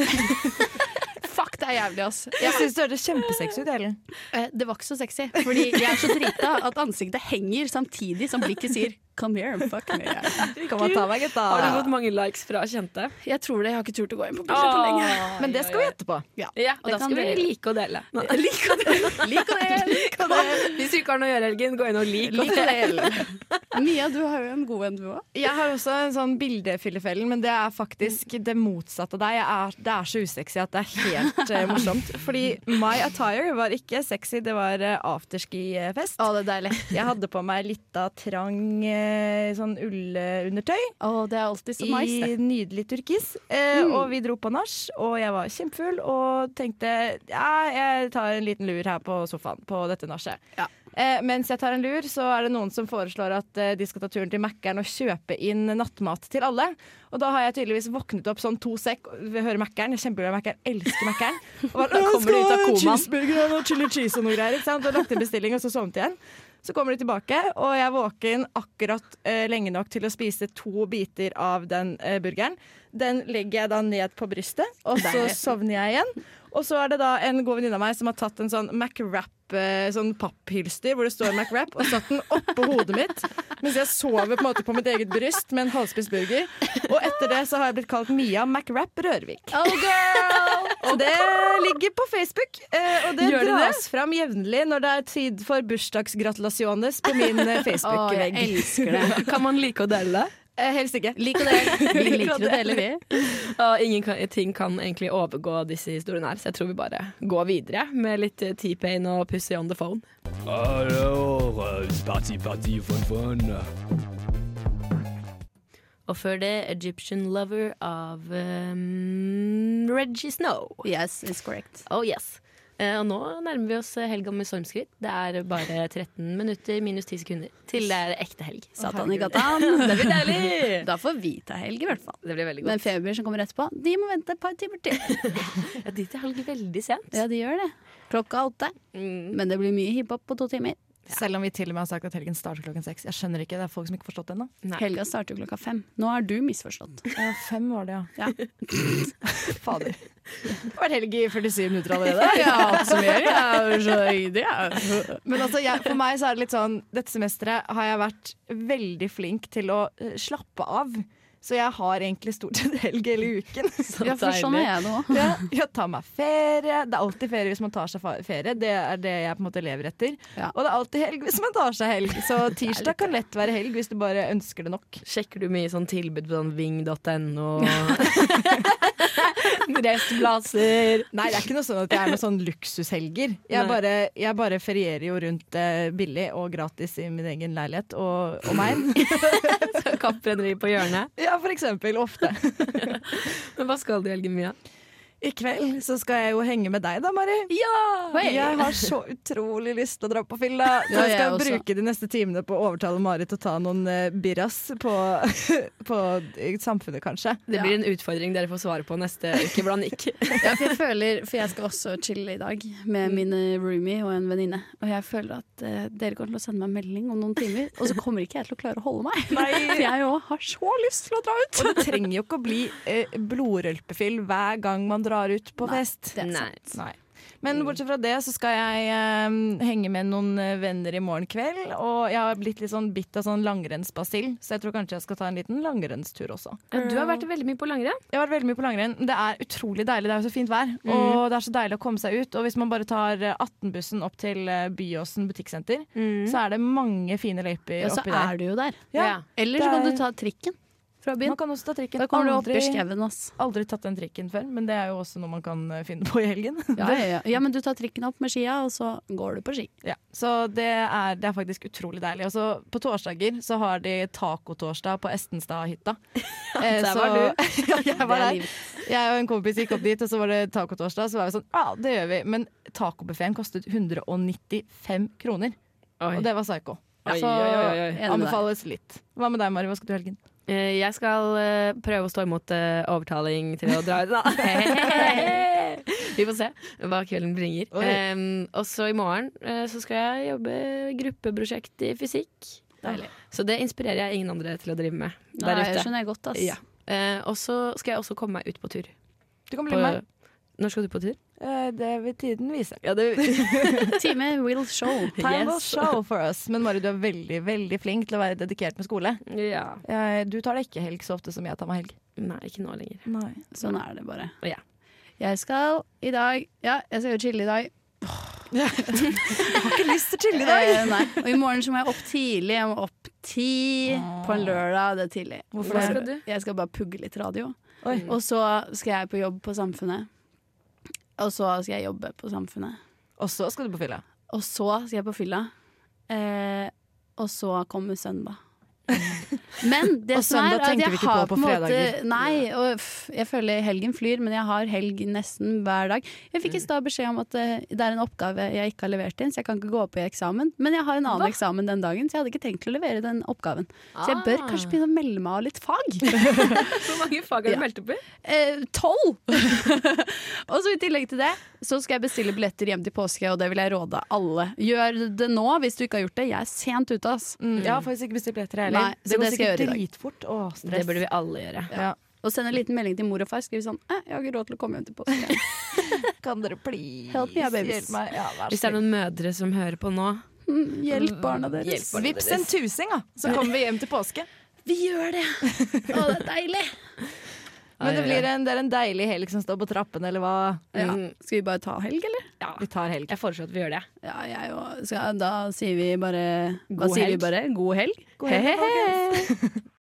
Fuck, det er jævlig, ass.
Jeg syns det hørtes kjempesexy ut, Ellen.
Eh, Det var ikke så sexy, fordi jeg er så drita at ansiktet henger samtidig som blikket sier 'come here and fuck me'.
Kom og ta meg, gutta.
Har du fått
mange likes fra kjente?
Jeg tror det. Jeg har ikke turt å gå inn på bildet på lenge.
Åh,
Men det skal vi etterpå.
Ja,
og da skal vi like å dele.
Like og dele. Like og dele.
Like og dele. Hvis du ikke har noe å gjøre i helgen, gå inn og lik og
Like og
del.
dele. Mia, du har jo en god en, du òg.
Jeg har også en sånn bildefyllefellen, men det er faktisk det motsatte av deg. Jeg er, det er så usexy at det er helt eh, morsomt. Fordi my attire var ikke sexy, det var eh, afterski-fest.
Å, det er deilig.
Jeg hadde på meg lita trang eh, sånn ullundertøy.
Å, det er alltid så nice,
I
det.
nydelig turkis. Eh,
Mm.
Og vi dro på nach, og jeg var kjempefull og tenkte ja, jeg tar en liten lur her på sofaen på dette nachet. Eh, mens jeg tar en lur, så er det noen som foreslår at eh, de skal ta turen til Mækkern og kjøpe inn nattmat til alle. Og da har jeg tydeligvis våknet opp sånn to sekk, vi hører Mækkern, jeg er kjempeglad i Mækkern, elsker Mækkern. Og bare,
Jeg
«Å,
skal
kommer de ut av
ha en
komaen. Og chili cheese og noe greier. Ikke sant? Og lagt inn bestilling, og så sovnet igjen. Så kommer de tilbake, og jeg er våken akkurat eh, lenge nok til å spise to biter av den eh, burgeren. Den legger jeg da ned på brystet, og så
Deilig.
sovner jeg igjen. Og så er det da en god venninne av meg som har tatt en sånn MacWrap, eh, sånn papphylster hvor det står MacWrap, og satt den oppå hodet mitt mens jeg sover på en måte på mitt eget bryst med en halvspist burger. Og etter det så har jeg blitt kalt Mia MacWrap Rørvik. Så det ligger på Facebook, eh, og det
Gjør det
dras fram jevnlig når det er tid for bursdagsgratulasjones på min eh, Facebook-vegg.
Å, jeg elsker det. Kan man like å dele?
Eh, helst ikke.
Lik og del. Vi liker å dele, vi. Og ingen kan, ting kan egentlig overgå disse historiene her, så jeg tror vi bare går videre med litt eh, T-Pain og Pussy on the phone.
Alors, euh, c'est parti, parti, fun, fun.
Og før det Egyptian Lover av ehm, Reggie Snow.
Yes, it's correct.
Oh yes. Eh, og nå nærmer vi oss eh, helga med stormskritt. Det er bare 13 minutter minus 10 sekunder til det er ekte helg.
Satan i
Herregud.
gatan.
Det blir deilig!
Da får vi ta helg, i hvert fall.
Det blir veldig
Men
godt.
Feber som kommer etterpå, de må vente et par timer til.
ja, de tar helg veldig sent.
Ja, de gjør det. Klokka åtte. Men det blir mye hiphop på to timer.
Selv om vi til og med har sagt at helgen starter klokken seks. Jeg skjønner ikke, det er folk som ikke har forstått det ennå.
Helga starter jo klokka fem. Nå har du misforstått.
Ja, fem var det,
ja.
Fader. Det har vært helg i 47 minutter allerede.
Ja, oppsummerer. Jeg er så øydig, jeg.
Men altså, jeg, for meg så er det litt sånn Dette semesteret har jeg vært veldig flink til å eh, slappe av. Så jeg har egentlig stort sett helg hele uken.
Ja, for sånn er jeg det også.
Ja, jeg tar meg ferie. Det er alltid ferie hvis man tar seg fa- ferie. Det er det jeg på en måte lever etter. Og det er alltid helg hvis man tar seg helg. Så tirsdag kan lett være helg hvis du bare ønsker det nok.
Sjekker du mye sånn tilbud på sånn ving.no? Restblaser.
Nei, det er ikke noe sånn at jeg er noen sånn luksushelger. Jeg
Nei.
bare, jeg bare ferierer jo rundt eh, billig og gratis i min egen leilighet og, og meg.
Kapprenneri på hjørnet?
Ja, for eksempel. Ofte.
Men hva skal du i helgen, Mia?
I kveld så skal jeg jo henge med deg da, Mari.
Hei!
Jeg har så utrolig lyst til å dra på fylla. Så
Ja,
jeg skal
jeg også.
bruke de neste timene på å overtale Marit til å ta noen eh, birras på, på samfunnet, kanskje.
Det blir en utfordring dere får svare på neste uke. Hvordan gikk?
Ja, for jeg føler, for jeg skal også chille i dag med min eh, roomie og en venninne. Og jeg føler at eh, dere kommer til å sende meg en melding om noen timer, og så kommer ikke jeg til å klare å holde meg. For jeg òg har så lyst til å dra ut.
Og det trenger jo ikke å bli eh, blodrølpefyll hver gang man drar ut på fest.
det er Nei. sant.
Nei. Men bortsett fra det så skal jeg eh, henge med noen eh, venner i morgen kveld. Og jeg har blitt litt sånn bitt av sånn langrennsbasill, så jeg tror kanskje jeg skal ta en liten langrennstur også.
Ja, du har vært veldig mye på langrenn.
Jeg har vært veldig mye på langrenn. men Det er utrolig deilig. Det er jo så fint vær.
Mm.
Og det er så deilig å komme seg ut. Og hvis man bare tar eh, 18-bussen opp til eh, Byåsen butikksenter, så er det mange fine løyper
Mm. Ja, så
oppi der.
er du jo der.
Ja.
Eller så kan du ta trikken
Robin?
Man kan også ta trikken.
Da kommer du opp i skauen,
aldri tatt den trikken før, men det er jo også noe man kan eh, finne på i helgen.
Ja, ja, ja. ja, men du tar trikken opp med skia, og så går du på ski.
Ja, så det er, det er faktisk utrolig deilig. Og så på torsdager så har de tacotorsdag på Estenstadhytta. Eh,
der
så-
var du.
ja, jeg var
Det er
der.
livet.
Jeg og en kompis gikk opp dit, og så var det tacotorsdag. Så var vi sånn, ja, det gjør vi. Men tacobuffeen kostet 195 kroner. Og det var psycho.
Oi,
Så
oi, oi, oi.
anbefales litt. Hva med deg, Mari? Hva skal du i helgen?
Eh, Jeg skal eh, prøve å stå imot eh, overtaling til å dra ut, da. Vi får se hva kvelden bringer.
Oi.
Em, og så i morgen eh, så skal jeg jobbe gruppeprosjekt i fysikk.
Deilig.
Så det inspirerer jeg ingen andre til å drive med
Nei,
der ute.
det skjønner jeg godt, ass.
Ja. Eh, og så skal jeg også komme meg ut på tur.
Du kan
bli med.
Når skal du på eh, tur?
Det vil tiden vise.
Time will show.
Time will show for us. Men Mari, du er veldig veldig flink til å være dedikert med skole. Eh, Du tar deg ikke helg så ofte som jeg tar meg helg.
Nei, ikke nå lenger.
Sånn er det bare.
Ja.
Jeg skal i dag Ja, jeg skal jo chille i dag.
Jeg har ikke lyst til å chille
Eh,
i dag!
nei. Og i morgen så må jeg opp tidlig. Jeg må opp ti på en lørdag. Det er tidlig.
Hvorfor
Bare-
det? Skal du?
Jeg skal bare pugge litt radio.
Oi.
Og så skal jeg på jobb på Samfunnet. Og så skal jeg jobbe på Samfunnet.
Og så skal du på fylla?
Og så skal jeg på fylla. Eh, og så kommer søndag. Men det
Og
som er
søndag
at
tenker
jeg
vi ikke
har
på på
en
fredager.
måte Nei, og f- jeg føler helgen flyr, men jeg har helg nesten hver dag. Jeg fikk i stad beskjed om at eh, det er en oppgave jeg ikke har levert inn, så jeg kan ikke gå opp i eksamen. Men jeg har en annen eksamen den dagen, så jeg hadde ikke tenkt å levere den oppgaven. Så jeg bør
Ah.
kanskje begynne å melde meg av litt fag.
Hvor mange fag har du
Ja.
meldt opp i?
Eh, Tolv! og så i tillegg til det, så skal jeg bestille billetter hjem til påske, og det vil jeg råde alle. Gjør det nå hvis du ikke har gjort det. Jeg er sent ute, ass.
Jeg har faktisk ikke bestilt billetter, jeg
Nei,
heller.
så det skal jeg gjøre i dag.
dritfort. Å, stress.
Det burde vi alle gjøre.
Ja.
Og sende en liten melding til mor og far. Skrive sånn eh, 'Jeg har ikke råd til å komme hjem til påske'.
Kan dere please
Help me, babies.
hjelpe meg? Ja, vær
Hvis det
så
er noen mødre som hører på nå
Mm, Hjelp barna deres.
Hjelp barna
Vips en
deres.
tusing, da, så
Ja.
kommer vi hjem til påske.
Vi gjør det!
Å, det er deilig!
Men det,
Ai, ai,
blir en, det er en deilig helg som står på trappene, eller hva?
Ja. Skal vi bare ta helg, eller?
Ja.
Vi tar helg.
Jeg foreslår at vi gjør det.
Ja, jeg òg. Da sier vi bare Hva
God
sier vi
helg.
bare? God helg?
God helg,
He-he-he.